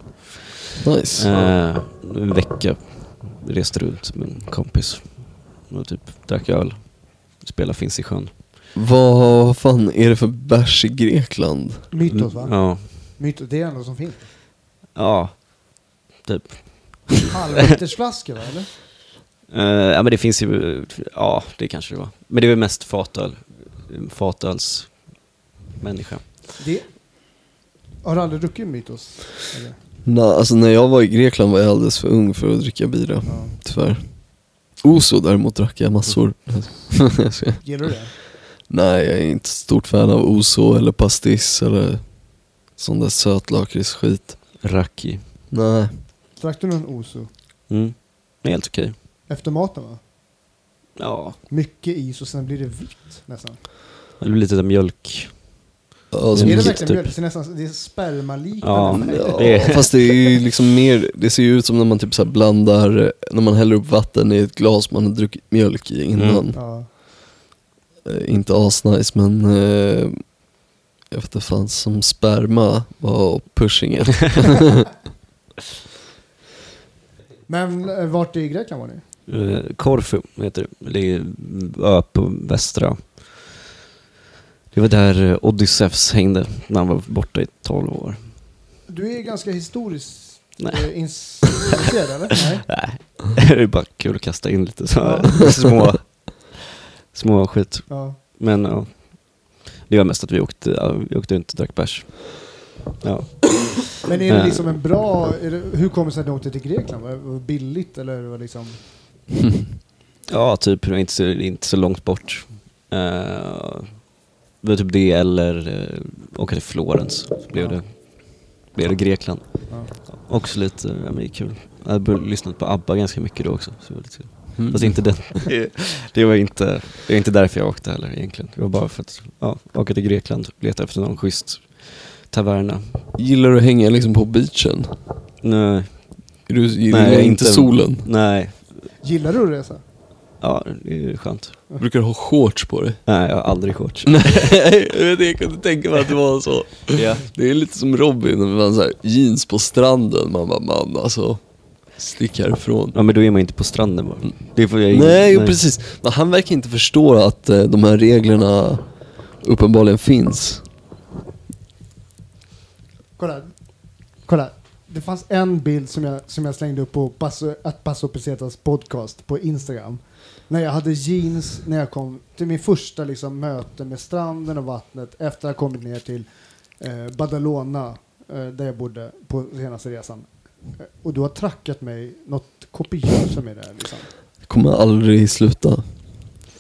A: Nice.
C: Eh, en vecka reste runt med en kompis och typ drack öl. Spelade Finns i sjön.
A: Vad fan är det för bärs i Grekland?
B: mytos va?
C: Mm. Ja.
B: Mytos, det är det enda som finns.
C: Ja.
B: Halvlitersflaskor va? Eller?
C: Eh, ja men det finns ju, ja det kanske det var. Men det var mest fatöl, fatöls människa.
B: Det, har du aldrig druckit mytos? Eller?
A: Na, alltså när jag var i Grekland var jag alldeles för ung för att dricka bira,
B: Ja.
A: tyvärr. Oso däremot drack jag
C: <laughs>
A: massor. Jag skojar.
B: Gillar du det?
A: Nej, jag är inte stort fan av Oso eller pastis eller sån där sötlakritsskit.
C: Raki.
A: Nej.
B: Drack du någon Oso?
C: Mm. Det är helt okej.
B: Efter maten va?
C: Ja.
B: Mycket is och sen blir det vitt nästan.
C: Det blir lite där mjölk.
A: Alltså,
B: är det
C: mjölk,
B: verkligen
C: typ.
B: mjölk? Det ser nästan det är
C: Ja.
B: spermaliknande.
A: Ja,
C: Det är-
A: fast det är ju liksom mer, det ser ju ut som när man typ så här blandar, när man häller upp vatten i ett glas man har druckit mjölk i innan.
C: Mm.
B: Ja.
A: Eh, inte asnice men eh, jag vet inte fan, som sperma var pushingen. <laughs>
B: Men eh, vart i Grekland var ni?
C: Eh, Korfu heter det. Det är en ö på västra. Det var där eh, Odysseus hängde när han var borta i 12 år.
B: Du är ganska historiskt
C: Nej.
B: eh, <laughs> intresserad eller? Nej.
C: Nej, <laughs> det är bara kul att kasta in lite så här <laughs> små, små skit.
B: Ja.
C: Men ja, det var mest att vi åkte, ja, vi åkte runt och drack bärs. Ja.
B: Men är det
C: Eh.
B: liksom en bra... Är det, hur kommer det sig att ni åkte till Grekland? Var det var det billigt eller var det liksom...
C: ja, typ det var inte så, inte så långt bort. Eh, det var typ det eller uh, åka till Florens. Så blev det, blev det Grekland.
B: Ja.
C: Också lite, ja men det är kul. Jag hade börjat lyssna på ABBA ganska mycket då också. Så det var lite kul. <laughs> Fast
A: <laughs>
C: inte den. Det var inte, det var inte därför jag åkte heller egentligen. Det var bara för att ja, åka till Grekland och leta efter någon schysst taverna.
A: Gillar du att hänga liksom på beachen?
C: Nej,
A: Är du, gillar du inte solen?
C: Nej.
B: Gillar du att resa?
C: Ja, det är skönt.
A: Brukar du ha shorts på dig?
C: Nej, jag har aldrig shorts.
A: <laughs> Nej, jag vet, jag kunde tänka mig att det var så. Det är lite som Robin, när man så här, jeans på stranden. Man bara, man alltså, stick härifrån.
C: Ja, men då är man inte på stranden bara. Det får jag
A: Nej, jo, precis. Men han verkar inte förstå att eh, de här reglerna uppenbarligen finns.
B: Kolla. Kolla. Det fanns en bild som jag, som jag slängde upp på Basso, att Basso Pesetas podcast på Instagram. När jag hade jeans när jag kom till min första liksom, möte med stranden och vattnet efter att ha kommit ner till eh, Badalona eh, där jag bodde på senaste resan. Eh, Och du har trackat mig något kopiöst för mig där liksom.
A: Det kommer aldrig sluta.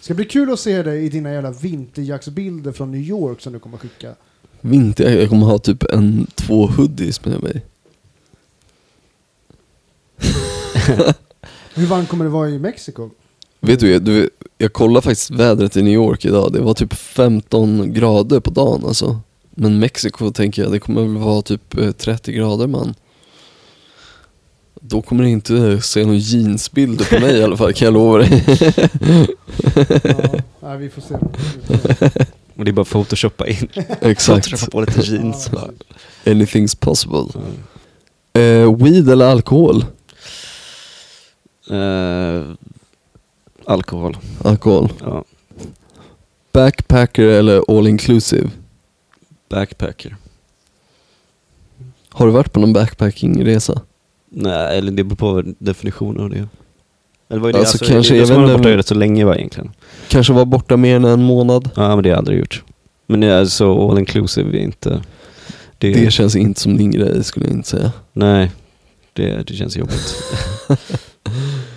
B: Ska bli kul att se dig i dina jävla vinterjacksbilder från New York som du kommer skicka.
A: Vinter, jag kommer ha typ en, två hoodies med mig.
B: Hur varmt kommer det vara i
C: <laughs>
B: Mexiko?
A: Vet du, jag- du, jag kollade faktiskt vädret i New York idag. Det var typ 15 grader på dagen alltså. Men Mexiko tänker jag, det kommer väl vara typ eh, 30 grader man. Då kommer ni inte eh, se några jeansbilder på mig i alla fall kan jag lova dig. <laughs>
B: Ja, nej, vi får se. Vi får se.
C: Och det är bara att
A: <laughs>
C: photoshoppa in.
A: Exakt.
C: Photoshoppa på lite jeans
B: Ja,
C: bara.
B: precis.
A: Anything's possible.
C: Mm.
A: Eh, weed eller alkohol?
C: Eh, alkohol.
A: Alkohol.
C: Ja.
A: Backpacker eller all inclusive?
C: Backpacker.
A: Har du varit på någon backpackingresa?
C: Nej, eller det beror på definitionen av det. Eller vad är det?
A: Alltså, kanske-
C: det,
A: jag
C: det ska
A: vet
C: man
A: inte
C: vara borta
A: om-
C: i rätt så länge va egentligen.
A: Kanske var borta mer än en månad?
C: Ja, men det har jag aldrig gjort. Men det är så all inclusive är inte... Det,
A: Det känns inte som din grej skulle jag inte säga.
C: Nej, det, det känns jobbigt. <laughs>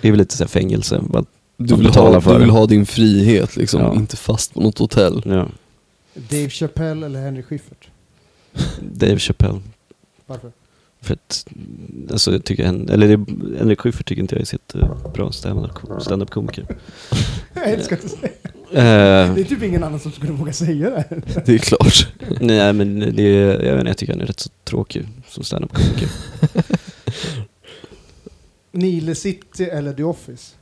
C: det är väl lite så här fängelse. Bara,
A: Du
C: Att
A: vill,
C: betala
A: ha,
C: för
A: du vill
C: det.
A: ha din frihet liksom,
C: Ja.
A: inte fast på något hotell. <laughs>
C: ja.
B: Dave Chappelle eller Henry Schiffert?
C: Dave Chappelle.
B: Varför?
C: För att, alltså jag tycker en, eller det- Henrik Schyffert tycker inte jag är så jättebra stand-up- stand-up-komiker.
B: Jag älskar att du säger det.
C: Eh,
B: Det är typ ingen annan som skulle våga säga det. här.
A: Det är klart.
C: <laughs> nej men det, jag vet inte, jag tycker han är rätt så tråkig som stand-up-komiker.
B: Nile City eller The Office?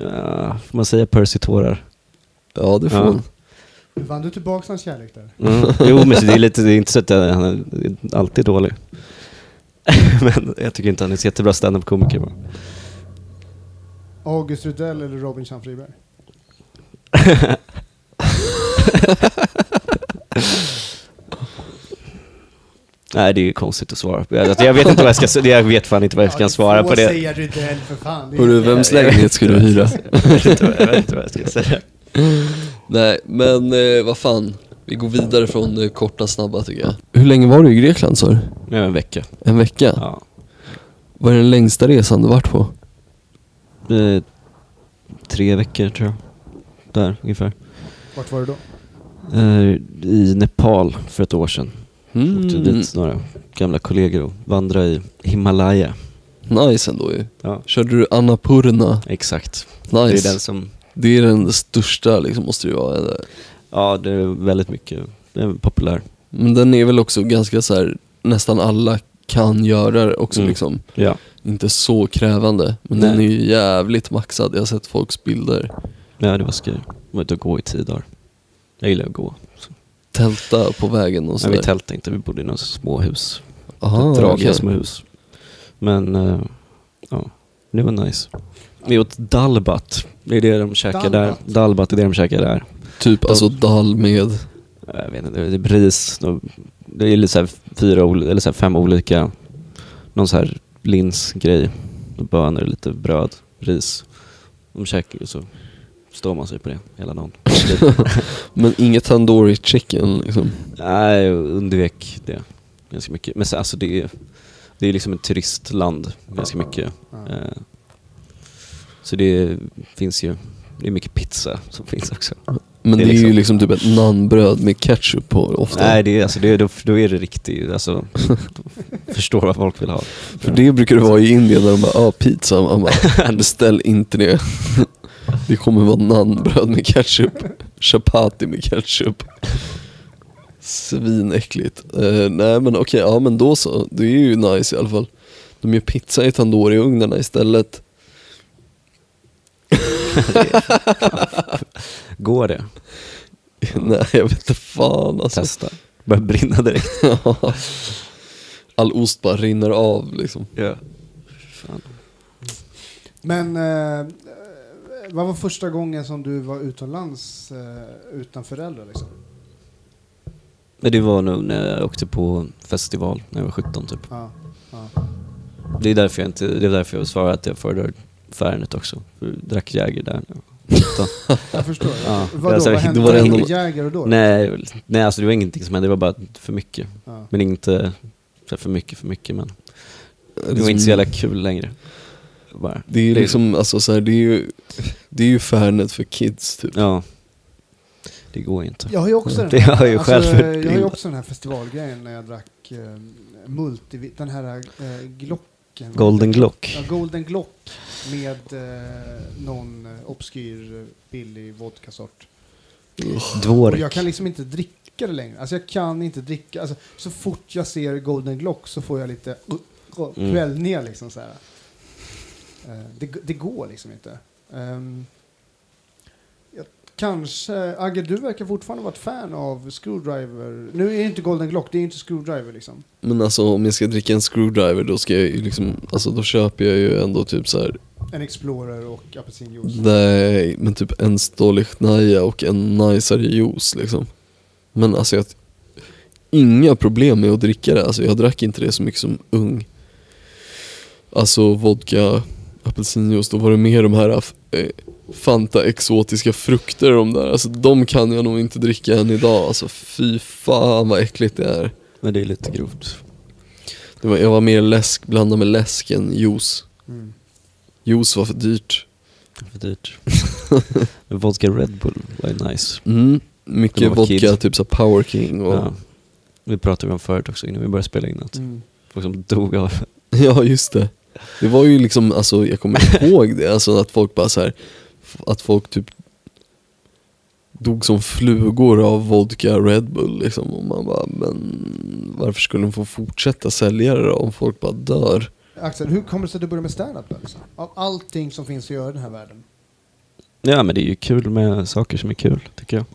C: Eh, får man säga Percy tårar?
A: Ja, det får
C: Ja.
A: man.
B: Vann du tillbaka hans kärlek där?
C: Mm. Jo men det är, lite, det är inte så att jag- han är alltid dålig. <laughs> men jag tycker inte han är så jättebra stand-up-komiker bara.
B: August Rudell eller Robin Chan Friberg?
C: Nej det är ju konstigt att svara på. Jag, jag vet inte vad jag ska, s- jag vet fan inte vad jag
B: Ja,
C: ska
B: du
C: svara på
B: får
C: det.
B: säga Rudell för fan. Det är-
A: Hörru, vems lägenhet ska du <laughs> hyra?
C: <laughs> Jag vet inte vad- jag vet inte vad jag ska säga.
A: Nej, men eh, vad fan. Vi går vidare från eh, korta snabba tycker jag. Hur länge var du i Grekland sa du?
C: Nu är en vecka.
A: En vecka?
C: Ja.
A: Vad är den längsta resan du varit på?
C: Eh, tre veckor tror jag. Där ungefär.
B: Vart var du då?
C: Eh, I Nepal för ett år sedan. Åkte
A: Mm,
C: dit några gamla kollegor och vandrade i Himalaya.
A: nice ändå ju.
C: Ja.
A: Körde du Annapurna?
C: Exakt. Det
A: Nice.
C: är den som...
A: största liksom, måste det ju vara. eller?
C: Ja, det är väldigt mycket. Den är populär.
A: Men den är väl också ganska så här, nästan alla kan göra det också
C: Mm.
A: liksom.
C: Ja.
A: Inte så krävande, men
C: Nej.
A: den är ju jävligt maxad. Jag har sett folks bilder.
C: ja, det var skoj. Jag var ute och gå i tio dagar. Jag gillar att gå.
A: Tälta på vägen och
C: Men vi
A: sådär.
C: tältade inte, vi bodde i några småhus.
A: Aha,
C: dragiga
A: okej.
C: små hus. Men eh, ja, det var nice. Vi åt dalbat. Det är det de käkar
B: Dalbat?
C: där. Dalbat är det de käkar där.
A: Typ alltså dal med...
C: Jag vet inte, det är ris. De- Det är lite så här fyra ol- eller så här fem olika, någon så här linsgrej. Och Bönor, lite bröd, ris. De käkar ju så står man sig på det hela dagen.
A: Men inget tandoori chicken liksom.
C: Nej, jag undvek det ganska mycket. Men så, alltså det är, det är liksom ett turistland ganska mycket.
B: Ja.
C: Eh, Så det finns ju, det är mycket pizza som finns också.
A: Men det
C: Det
A: är,
C: är
A: ju liksom typ ett naanbröd med ketchup på ofta.
C: Nej, det är, alltså, det är, då, då är det riktigt, alltså, förstår vad folk vill ha.
A: För det brukar det vara i Indien när de bara, ah, pizza. Man
C: <laughs>
A: bara, beställ inte det. <laughs> Det kommer vara naanbröd med ketchup. Chapati med ketchup. Svinäckligt. Eh, nej men okej, ja men då så. Det är ju nice i alla fall. De gör pizza i tandoori-ugnarna istället. <laughs>
C: Går det?
A: nej, jag vet inte fan alltså.
C: Testa. Börjar brinna direkt.
A: <laughs> Ja. All ost bara rinner av liksom.
C: Ja.
B: Men eh, vad var första gången som du var utomlands eh, utan föräldrar? Liksom?
C: Men det var nog när jag åkte på festival när jag var 17 typ.
B: Ja, ja.
C: Det är därför jag, inte, det är därför jag svarar att jag föredrar Färnet också. För jag drack Jäger där. när jag var 17.
B: Jag förstår.
C: Ja.
B: Vadå,
C: Alltså,
B: vad
C: det
B: hände?
A: var
B: Var
A: det
B: det
A: ändå-
B: Jägare då?
C: nej, väl- nej, alltså det var ingenting som hände. Det var bara för mycket.
B: Ja.
C: Men inte så här för mycket, för mycket. Men det var inte så jävla kul längre. Bara.
A: Det är ju
C: Det är-
A: liksom, alltså så här, det är ju, det är ju Fernet för kids typ.
C: Ja. Det går ju inte.
B: Jag har ju också den
C: Det har jag ju själv
B: eh,
C: gjort
B: jag har ju
C: innan.
B: också den här festivalgrejen när jag drack eh, multi, den här eh, Glocken.
C: Golden Glock.
B: Ja, Golden Glock med eh, någon eh, obskyr eh, billig vodkasort. Och jag
C: Dvorek.
B: kan liksom inte dricka det längre. Alltså jag kan inte dricka. Alltså, så fort jag ser Golden Glock så får jag lite uh,
C: Mm.
B: kvällningar liksom så här. Eh, Det, det går liksom inte. Ehm, jag, kanske, Agge du verkar fortfarande vara ett fan av Screwdriver. Nu är det inte Golden Glock, det är inte Screwdriver liksom.
A: Men alltså om jag ska dricka en screwdriver då ska jag ju liksom, alltså då köper jag ju ändå typ så här.
B: En Explorer och apelsinjuice.
A: nej men typ en stolichnaya och en najsare juice liksom. Men alltså jag, inga problem med att dricka det, alltså jag drack inte det så mycket som ung. Alltså vodka, apelsinjuice, då var det mer de här eh, Fanta exotiska frukter de där, alltså de kan jag nog inte dricka än idag, alltså fy fan vad äckligt det är.
C: Men det är lite grovt.
A: Det var, jag var mer läsk, blandad med läsk än juice.
B: Mm.
A: Juice var för dyrt.
C: <laughs> För dyrt. Men Vodka Red Bull var ju nice.
A: Mm.
C: När
A: mycket
C: man var
A: vodka,
C: kid.
A: typ så här Power King och...
C: Ja.
A: <laughs> Ja,
C: Det pratade vi om förut också innan vi började spela in. Att
B: Mm.
C: folk som dog av...
A: just det. Det var ju liksom, alltså jag
C: <laughs>
A: kommer ihåg det, alltså att folk bara så här, f- att folk typ dog som flugor av vodka Red Bull liksom. Och man bara, men varför skulle de få fortsätta sälja det då om folk bara dör?
B: Axel, hur kommer det sig att du började med standup? då, Liksom? Av allting som finns att göra i den här världen.
C: Ja men det är ju kul med saker som är kul, tycker jag.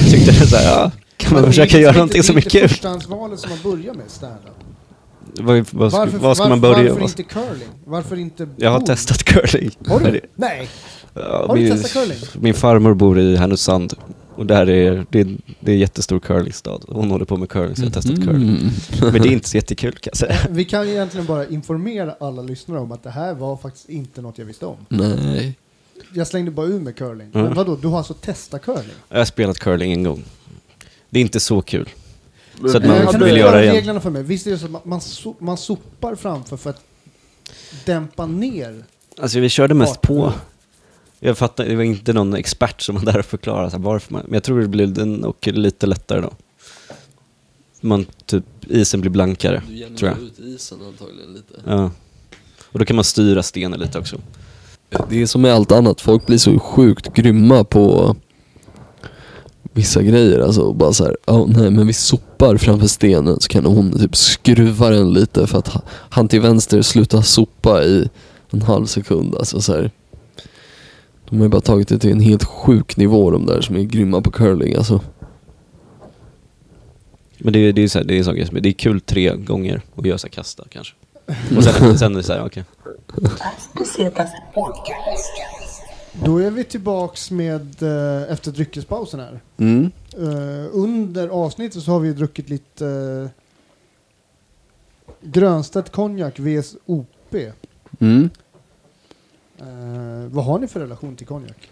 C: Jag tyckte det så här, ja, kan man försöka göra någonting som är
B: Det är
C: kul?
B: inte förstahandsvalet som man börjar med standup.
C: Vad, vad, ska, vad ska man börja
B: Varför
C: med?
B: inte curling? Varför inte
C: Jag har
B: pool?
C: testat curling.
B: Har
C: Men
B: du?
C: det-
B: Nej.
C: ja,
B: Har du
C: min-
B: testat curling?
C: Min farmor bor i Härnösand. Och där är, det, är, det är en jättestor curlingstad. Hon håller på med curling så jag har testat
B: <laughs>
C: curling.
A: Mm.
C: Men det är inte så jättekul kan jag säga.
B: Vi kan ju egentligen bara informera alla lyssnare om att det här var faktiskt inte något jag visste om.
A: Nej.
B: Jag slängde bara ur med curling.
C: Mm.
B: Men vadå, du har alltså testat curling?
C: Jag har spelat curling en gång. Det är inte så kul. Så att
B: Men jag
C: man liksom
B: kan
C: vill
B: du
C: göra
B: förklara
C: det igen.
B: reglerna för mig? Visst är det så att man, man, so man sopar framför för att dämpa ner?
C: Alltså vi körde mest på.
B: Farten.
C: Jag fattar, det var inte någon expert som var där och förklarade så här, varför man... Men jag tror det blir den och lite lättare då. Man typ, isen blir blankare. Tror jag.
A: ut isen antagligen lite.
C: Ja. Och då kan man styra stenen lite också.
A: Det är som med allt annat, folk blir så sjukt grymma på vissa grejer. Alltså och bara så här, "Ja, nej men vi sopar framför stenen så kan hon typ skruva den lite för att ha- han till vänster slutar sopa i en halv sekund. Alltså så här. De har ju bara tagit det till en helt sjuk nivå de där som är grymma på curling alltså.
C: Men det, är- det är så här, det är en sån grej som, är- det är kul tre gånger att göra så här kasta kanske. Och sen, sen är det så här, okej.
D: As bucetas podcast.
B: Då är vi tillbaks med, eh, efter dryckespausen här.
A: Mm.
B: Eh, under avsnittet så har vi ju druckit lite eh, Grönstedt konjak vs OP.
A: Mm.
B: Eh, vad har ni för relation till konjak?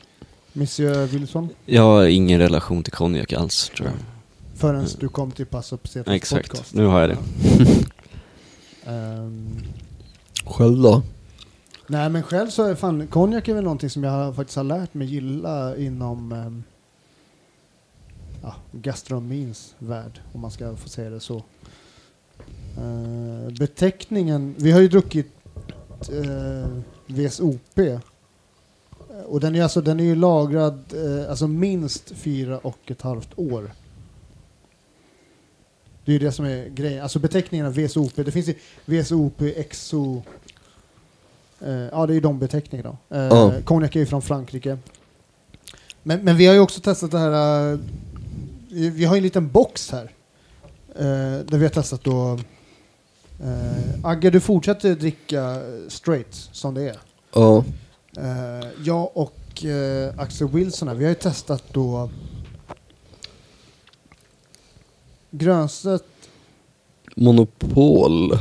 B: Monsieur Wilson?
C: Jag har ingen relation till konjak alls tror jag.
B: Förrän du kom till Passo Pesetas
C: Nej, exakt,
B: podcast.
C: nu har jag det.
B: Ehm,
A: Själv då?
B: nej men själv så är fan, konjak är väl någonting som jag faktiskt har lärt mig gilla inom ehm, ja, gastronomins värld, om man ska få säga det så. Eh, beteckningen, vi har ju druckit eh, VSOP. Eh, Och den är, alltså, den är ju lagrad eh, alltså minst fyra och ett halvt år. Det är ju det som är grejen. Alltså beteckningarna VSOP, det finns ju VSOP, XO. Eh, ja, det är ju de beteckningarna. Eh,
A: Ja.
B: Konjak är ju från Frankrike. Men, men vi har ju också testat det här. Eh, vi- vi har ju en liten box här. Eh, där vi har testat då. Eh, Agge, du fortsätter dricka eh, straight som det är.
A: Ja.
B: Eh, jag och eh, Axel Wilson här, vi har ju testat då Grönstedt,
A: Monopol.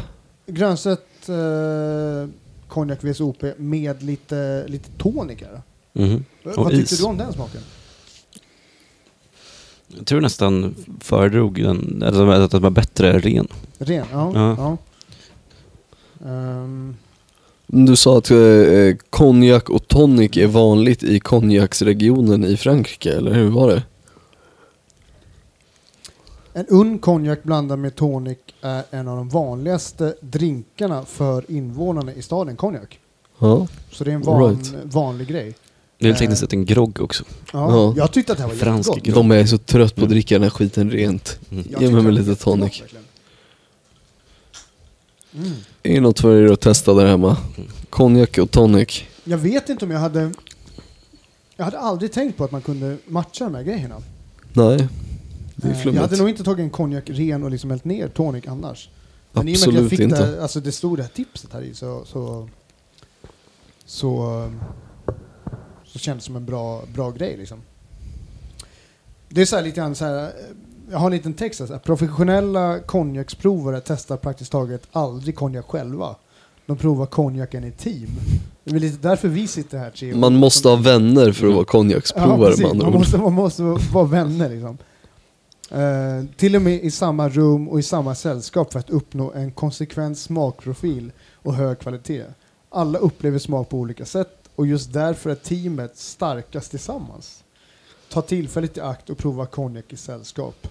B: Grönstedt eh, konjak VSOP med lite, lite tonic här.
C: Mhm.
B: V-
A: Och
B: Vad tyckte
A: is.
B: du om den smaken?
C: Jag tror nästan föredrog den, alltså att den var bättre ren.
B: Ren? Ja.
C: Ja.
B: ja. Ehm,
A: Du sa att eh, konjak och tonic är vanligt i konjaksregionen i Frankrike, eller hur var det?
B: En ung konjak blandad med tonic är en av de vanligaste drinkarna för invånarna i staden konjak.
A: Ja.
B: Så det är en van,
A: Right.
B: vanlig grej.
C: Det
A: Äh.
C: är väl tekniskt sett en grogg också.
B: Ja,
A: Ja.
B: Jag tyckte att det här var
C: Fransk
B: jättegott.
C: grej.
A: De är så trött på att
C: Mm.
A: dricka den här skiten rent.
C: Mm.
B: Jag
A: Ge
B: tyckte
A: mig
B: det var
A: lite
B: jättegott,
A: tonic.
B: verkligen.
A: Är det något för er att testa där hemma? Konjak och tonic.
B: Jag vet inte om jag hade... Jag hade aldrig tänkt på att man kunde matcha de här grejerna.
A: Nej, det är
B: Eh, Jag hade
A: flummigt.
B: nog inte tagit en konjak ren och liksom hällt ner tonic annars. Men i och med att jag
A: Absolut
B: fick
A: inte.
B: Det, här- alltså det stod det här tipset här i så... Så, så, um, så kändes det som en bra, bra grej liksom. Det är så här lite grann så här... eh, Jag har en liten text här. så här, Professionella konjaksprovare testar praktiskt taget aldrig konjak själva. De provar konjaken i team. Det är väl lite därför vi sitter här tre. år.
A: Man måste ha vänner för att
C: Mm.
A: vara konjaksprovare
B: precis.
A: med andra
B: man
A: ord.
B: måste, man måste vara vänner liksom. Eh, till och med i samma rum och i samma sällskap för att uppnå en konsekvent smakprofil och hög kvalitet. Alla upplever smak på olika sätt och just därför är teamet starkast tillsammans. Ta tillfället i akt och prova konjak
A: <laughs>
B: i sällskap.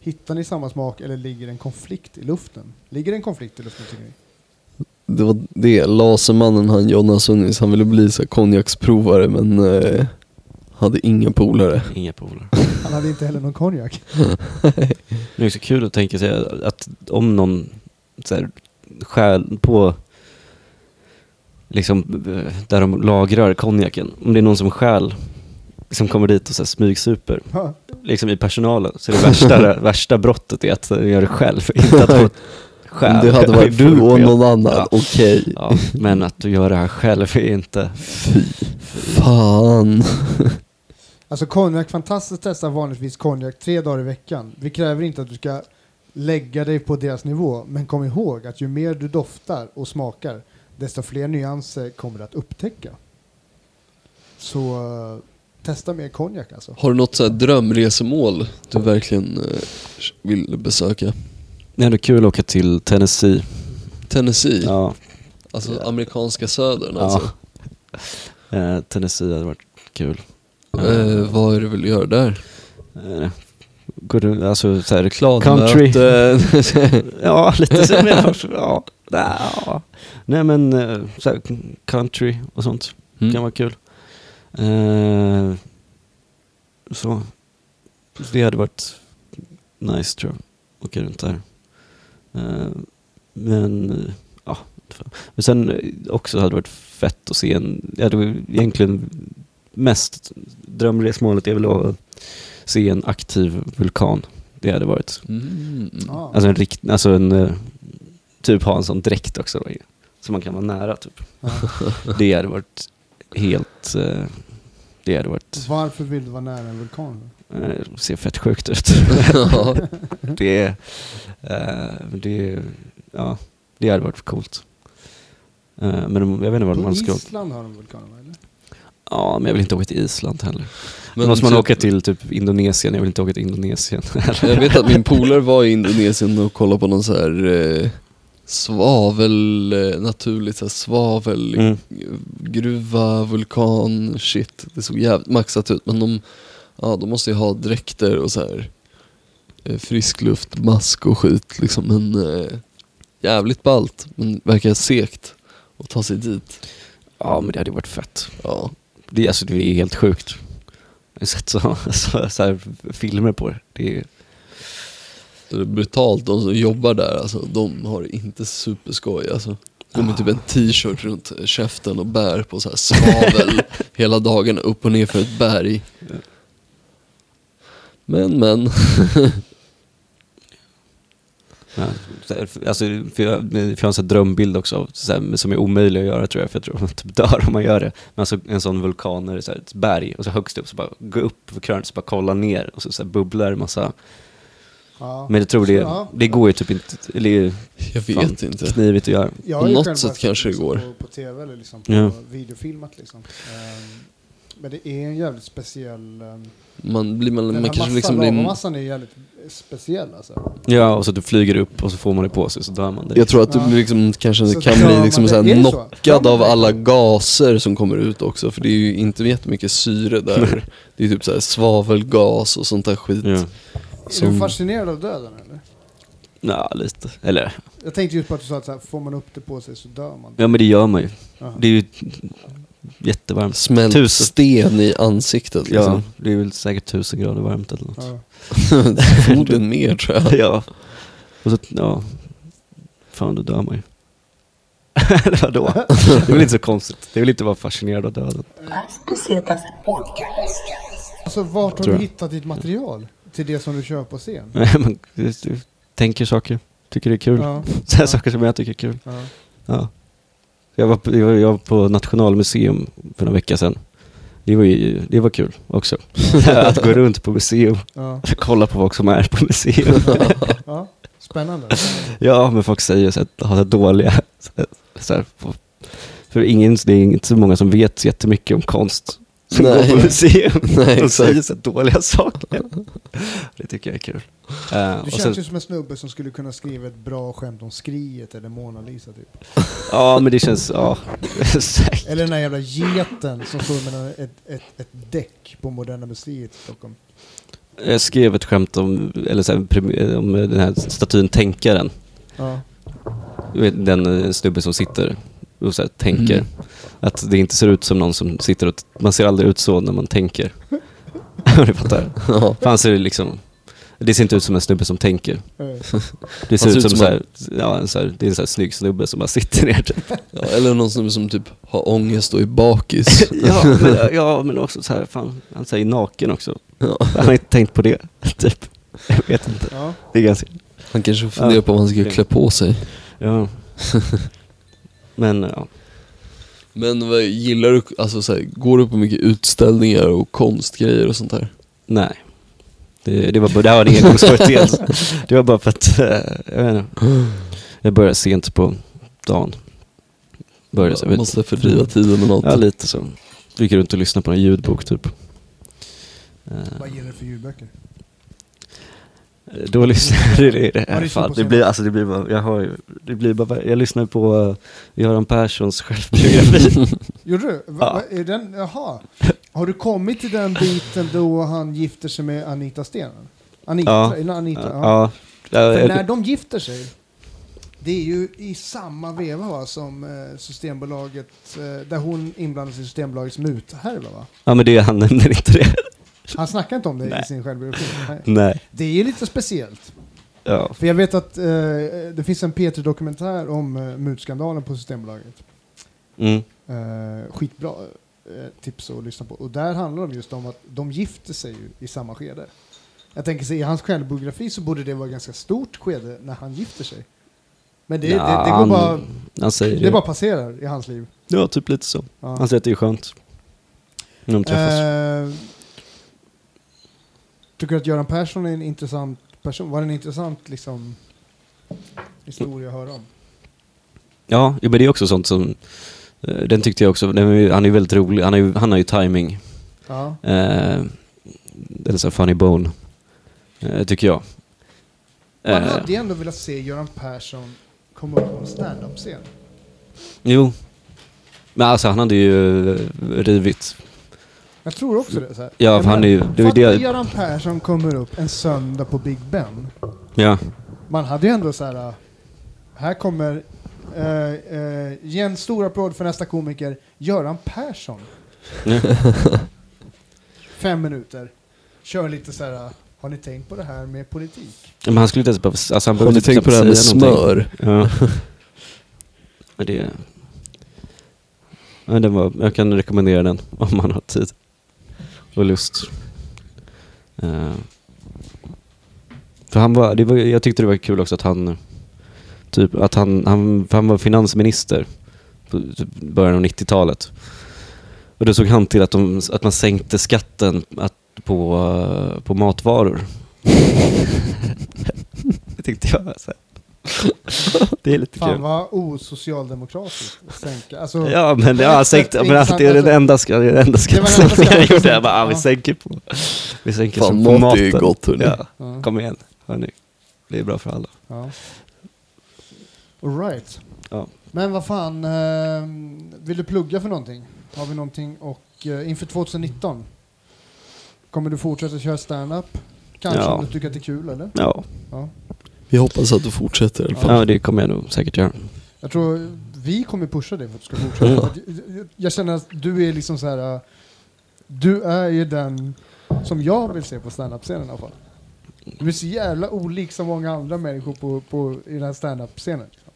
B: Hittar ni samma smak eller ligger en konflikt i luften? Ligger en konflikt i luften tycker ni?
A: Det var det, Lasermannen han Jonna Sunnis, han ville bli så här konjaksprovare men eh, hade inga polare.
C: Inga polare.
B: Han hade inte heller någon konjak. <laughs>
C: Det är också kul att tänka sig att om någon så här, stjäl på liksom eh, där de lagrar konjaken, om det är någon som stjäl som kommer dit och så här smygsuper,
B: Ja,
C: liksom i personalen, så är
A: <laughs>
C: det värsta, värsta brottet är att de gör det själv, inte att de
A: Om
C: stjäl.
A: det hade
C: <laughs>
A: varit du och någon annan,
C: Ja.
A: okej.
C: Ja, men att du gör det här själv är inte...
A: Fan.
B: Alltså konjak, fantastiskt testar vanligtvis konjak tre dagar i veckan. Vi kräver inte att du ska lägga dig på deras nivå, men kom ihåg att ju mer du doftar och smakar, desto fler nyanser kommer du att upptäcka. Så eh, testa mer konjak alltså.
A: Har du något så här drömresemål du verkligen eh, vill besöka?
C: Nej, det är kul att åka till Tennessee.
A: Tennessee,
C: Ja,
A: alltså
C: Ja.
A: amerikanska södern
C: Ja.
A: alltså.
C: <laughs> eh, Tennessee hade varit kul.
A: Eh, vad är det du vill göra där?
C: Eh, Går du, alltså så här, reklam...
A: Country.
C: Ja, lite så. Men, <laughs> ja, ja. Nej men, eh, så här, country och sånt
A: <laughs>
C: kan
A: mm.
C: vara kul. Eh, så. Det hade varit nice tror jag, åka runt där. Eh, men, eh, ja. inte fan. Men sen eh, också hade det varit fett att se en, jag hade egentligen mest, drömresmålet är väl att se en aktiv vulkan. Det hade varit
A: Mm.
B: Ja.
C: Alltså en rikt, alltså en, eh, typ ha en sån dräkt också. Så man kan vara nära typ.
B: Ja.
C: Det hade varit helt, eh, det hade varit,
B: Varför vill du vara nära en vulkan?
C: eh, ser fett sjukt ut.
A: Ja.
C: det, eh, det, ja, det hade varit coolt. Eh, men jag vet inte
B: På
C: vart man ska
B: Island har de vulkaner, va, eller?
C: Ja, men jag vill inte åka till Island heller. Men måste man
A: typ-
C: åka till typ Indonesien? Jag vill inte åka till Indonesien. <laughs>
A: Jag vet att min polare var i Indonesien och kollade på någon så här eh, svavel, eh, naturligt så här svavel,
C: Mm.
A: gruva, vulkan, shit. Det såg jävligt maxat ut men de, ja, de måste ju ha dräkter och så här eh, friskluft, mask och skit liksom. Men eh, jävligt ballt, men verkar segt att ta sig dit.
C: Ja, men det hade varit fett.
A: Ja.
C: Det, alltså, det är helt sjukt. Jag har sett så, <laughs> så, så här filmer på det. det är,
A: Det är Alltså, brutalt, de som jobbar där alltså, de har inte superskoj alltså. Går med typ en t-shirt runt käften och bär på så här
C: <laughs>
A: svavel hela dagen upp och ner för ett berg. Men men,
C: ja, så här, alltså, för jag, för jag har en sån här drömbild också av- så här, som är omöjlig att göra tror jag, för jag tror man typ dör om man gör det. Men alltså, en sån vulkan är det så här, ett berg och så högst upp så bara gå upp för krönet så bara kolla ner och så, så här, bubblar det massa.
B: Ja.
C: Men jag tror det,
B: Ja.
C: det går ju typ inte, eller det är ju
A: jag vet
C: Fan.
A: inte.
C: knivigt att göra.
B: Jag
A: På
B: har ju
A: något
B: själv
A: sätt
B: varit
A: kanske det
B: liksom
A: går.
B: På, på tv eller liksom på
C: Ja.
B: videofilmat liksom. Ehm, men det är en jävligt speciell... ehm,
A: Man, blir, man,
B: den
A: man
B: här
A: kanske
B: massan,
A: liksom blir...
B: lavamassan är jävligt speciell alltså.
C: Ja, och så du flyger upp och så får man det på sig så dör man direkt.
A: Jag tror att du
B: Ja.
A: blir liksom, kanske
B: Så
A: kan
B: drar
A: bli
B: man
A: liksom
B: det-
A: så här
B: är det så? Drar
A: knockad
B: man
A: av
B: det?
A: alla gaser som kommer ut också för det är ju inte jättemycket syre
C: <laughs>
A: där. Det är typ så här svavelgas och sånt där skit.
C: Ja.
B: Är
A: Som-
B: du fascinerad av döden eller?
C: ja, lite. Eller,
B: Jag tänkte just på att du sa att så här, får man upp det på sig så dör man.
C: ja men det gör man ju.
B: Jaha.
C: Det är ju jättevarmt.
A: Smält
C: Tusen.
A: sten i ansiktet
C: Ja,
A: liksom.
C: det är väl säkert tusen grader varmt eller något.
B: Ja.
A: <laughs> Förmodligen mer tror
C: <laughs>
A: jag.
C: Ja. Och så, ja. Fan, då dör man ju. Eller Vadå? <laughs> Det är väl inte så konstigt. Det är väl inte vara fascinerad av döden.
D: As pesetas en podcast.
B: Alltså vart har
C: Tror
B: du
C: jag.
B: hittat ditt material? Till det som du kör på scen?
C: <laughs> Nej, Man just- du tänker saker, tycker det är kul.
B: Ja.
C: <laughs> Så här
B: Ja.
C: saker som jag tycker är kul.
B: Ja.
C: Ja. Jag, var på, jag var- jag var på Nationalmuseum för några vecka sedan. Det var, ju, det var kul <laughs> också. Att gå runt på museum, <laughs>
B: Ja.
C: kolla på folk som är på museum.
B: Ja. Spännande.
C: Ja, men folk säger så att har så dåliga... Så här, så här, för ingen, det är inte så många som vet så jättemycket om konst. som
A: Nej.
C: går på <laughs> museum
A: Nej,
C: och säger
A: exakt.
C: så här dåliga saker. Det tycker jag är kul. Eh,
B: Du
C: och
B: känns
C: sen-
B: ju som en snubbe som skulle kunna skriva ett bra skämt om skriet eller Mona Lisa typ.
C: Ja, men det känns, ja. <laughs> säkert.
B: Eller den där jävla geten som står mellan ett, ett, ett däck på Moderna Museet i Stockholm.
C: jag skrev ett skämt om, eller så här, prim- om den här statyn Tänkaren.
B: Ja.
C: Du vet, den eh, snubben som sitter och så här, tänker.
A: Mm.
C: Att det inte ser ut som någon som sitter och... Man ser aldrig ut så när man tänker. <laughs> Om du fattar?
A: Ja.
C: Fan ser det liksom... Det ser inte ut som en snubbe som tänker.
B: Eh,
C: Det ser
A: ser
C: ut
A: ut
C: som, så här, ja, en så här, det är en så här snygg snubbe som bara sitter ner. typ.
A: Ja, eller någon snubbe som typ har ångest och är
C: <laughs>
A: bakis.
C: <laughs> ja, men, ja, men också så här, fan, han säger naken också.
A: Ja.
C: Han har inte tänkt på det, <laughs> typ. Jag vet inte.
B: ja.
C: Det är ganska...
A: Han kanske funderar på om han ska klä på sig.
C: Ja. <laughs> Men ja.
A: Men vad, gillar du, alltså så här, går du på mycket utställningar och konstgrejer och sånt där?
C: Nej. Det, det var bara, det här var en <laughs> engångsföreteelse. Det var bara för att, eh, jag vet inte. Jag började sent på dagen. Började, så jag vet, inte.
A: Måste fördriva tiden med något.
C: ja, lite så. Gick runt och lyssnade på en ljudbok typ. Eh,
B: Vad gillar du för ljudböcker?
C: Då lyssnade jag, det,
B: Vad lyssnar
C: det,
B: du
C: fan,
B: på
C: det
B: sen?
C: blir, alltså det blir bara, jag har ju- det blir bara, jag lyssnar på eh, Göran
B: <laughs>
C: Perssons självbiografi.
B: Gjorde du? Va,
C: Ja.
B: va, är den, jaha. Har du kommit till den biten då han gifter sig med Anita Sten? Anita?
C: Ja.
B: Eller Anita? ja.
C: ja. Ja,
B: För
C: jag-
B: när de gifter sig, det är ju i samma veva va, som eh, Systembolaget, eh, där hon inblandas i Systembolagets muthärva va?
C: ja men det, han nämner inte det. <laughs>
B: Han snackar inte om det i
C: Nej.
B: sin självbiografi. Nej.
C: Nej.
B: Det är ju lite speciellt.
C: Ja.
B: För jag vet att eh, det finns en p dokumentär om eh, mutskandalen på Systembolaget.
C: Mm.
B: Eh, skitbra eh, tips att lyssna på. Och där handlar det just om att de gifter sig ju i samma skede. Jag tänker sig, i hans självbiografi så borde det vara ett ganska stort skede när han gifter sig. Men det,
C: Ja,
B: det, det går
C: han-
B: bara...
C: Han säger
B: Det bara passerar i hans liv.
C: Ja, typ lite så.
B: Ja.
C: Han säger att det är skönt. När de träffas.
B: Eh, tycker du att Göran Persson är en intressant person? Var det en intressant liksom, historia att höra om?
C: Ja, jo, men det är också sånt som... eh, Den tyckte jag också, den är, ju- han är ju väldigt rolig, han, är ju, han har ju timing
B: Ja.
C: eh, Eller så här funny bone. Eh, tycker jag.
B: Man
C: Eh,
B: hade ju ändå velat se Göran Persson komma upp på en standup-scen.
C: Jo. Men alltså han hade ju eh, rivit.
B: Jag tror också det. Så här.
C: Ja,
B: Jag
C: för han är ju-
B: menar,
C: det är ju
B: fatta
C: det-
B: Göran Persson kommer upp en söndag på Big Ben.
C: Ja.
B: Man hade ju ändå så här... äh, Här kommer... eh, eh, ge en stor applåd för nästa komiker, Göran
C: <laughs>
B: Persson.
C: Ja.
B: Fem minuter. Kör lite så här... äh, Har ni tänkt på det här med politik?
C: Men han skulle inte ens behöva... Alltså, han
A: Har
C: behövde
A: du tänkt
C: knappt
A: på det här med
C: säga någonting.
A: smör?
C: Ja.
A: <laughs>
C: Men det... Ja, den var, jag kan rekommendera den <laughs> om man har tid och lust. Eh, för han var, det var, jag tyckte det var kul också att han, typ, att han, han, för han var finansminister på typ början av 90-talet. Och då såg han till att, de, att man sänkte skatten att, på, eh, på matvaror. <laughs> det tyckte jag. var Så här. Det är lite kul.
B: Fan vad osocialdemokratiskt att sänka. Alltså,
C: Ja men,
B: det är
C: ja,
B: ett
C: sänkt,
B: sätt,
C: men alltså, det är
B: alltså-
C: den enda, ska- det är den enda
B: enda
C: skattesänkningen jag gjorde. Jag
B: skattesänkningen.
C: bara, ah, vi
B: Ja.
C: sänker på, vi sänker
A: Fan,
C: så
A: mat är
C: på maten.
A: ju gott, hörni.
C: Ja,
B: Ja.
C: kom igen, hörni. Det är bra för alla.
B: Ja. All right.
C: Ja.
B: Men vad fan, eh, vill du plugga för någonting? Har vi någonting och eh, inför 2019? Kommer du fortsätta köra stand-up? Kanske
C: Ja.
B: om du tycker att det är kul eller?
C: Ja,
B: Ja.
A: Vi hoppas att du fortsätter i alla fall.
C: ja det kommer jag nog säkert göra. <laughs>
B: Jag tror vi kommer pusha dig för att du ska fortsätta. För att jag- jag känner att du är liksom så här. eh, Du är ju den som jag vill se på standup-scenen i alla fall. Du är så jävla olik som många andra människor på, på, i den här standup-scenen. liksom.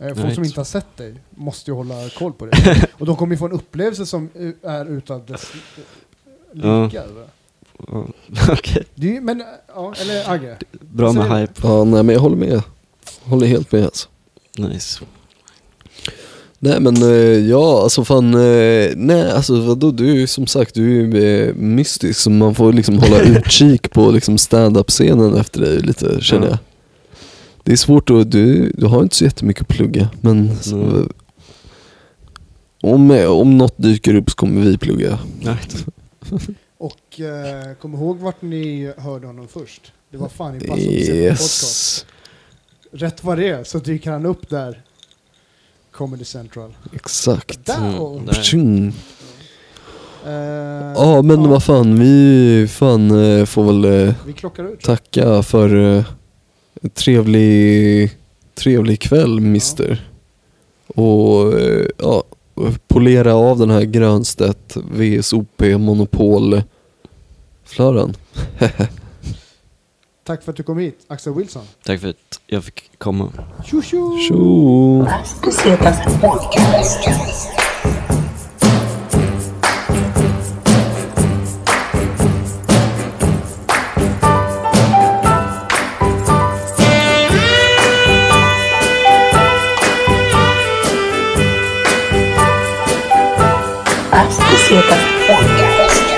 B: Eh, Folk
C: Right.
B: som inte har sett dig måste ju hålla koll på dig.
C: <laughs>
B: Och de kommer ju få en upplevelse som eh, är utan dess eh,
C: Ja.
B: lika. va?
C: Ja, Okej,
B: Det är ju- men, eh, ja, eller Agge.
C: bra
B: Så är
C: med
B: det.
C: hype.
A: Ja, nej men jag håller med. Håller helt med alltså.
C: Nice.
A: Nej men eh, ja, alltså fan, eh, nej alltså vadå, du är ju som sagt, du är ju eh, mystisk så man får liksom
B: <laughs>
A: hålla utkik på liksom up scenen efter dig lite känner
C: Ja.
A: jag. Det är svårt och du, du har inte så jättemycket att plugga men så,
C: Nej.
A: Om, eh, om något dyker upp så kommer vi plugga.
C: Nej.
B: Och eh, kom ihåg vart ni hörde honom först. Det var fan i Bassons podcast.
A: Yes.
B: Rätt vad det är så dyker han upp där. Comedy Central.
A: Exakt.
B: Där!
C: Mm, där.
A: Ptjing.
B: Eh,
A: Ja men vad fan, vi fan eh, får väl eh,
B: Vi klockar ut.
A: tacka för eh, en trevlig, trevlig kväll mister. Och eh, ja, polera av den här Grönstedt VSOP monopol flören.
B: Tack för att du kom hit, Axel Wilson.
C: Tack för att jag fick komma.
B: Tjo tjo!
A: Tjo!
D: As Pesetas Podcast. As Pesetas Podcast.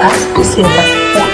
D: As Pesetas Podcast.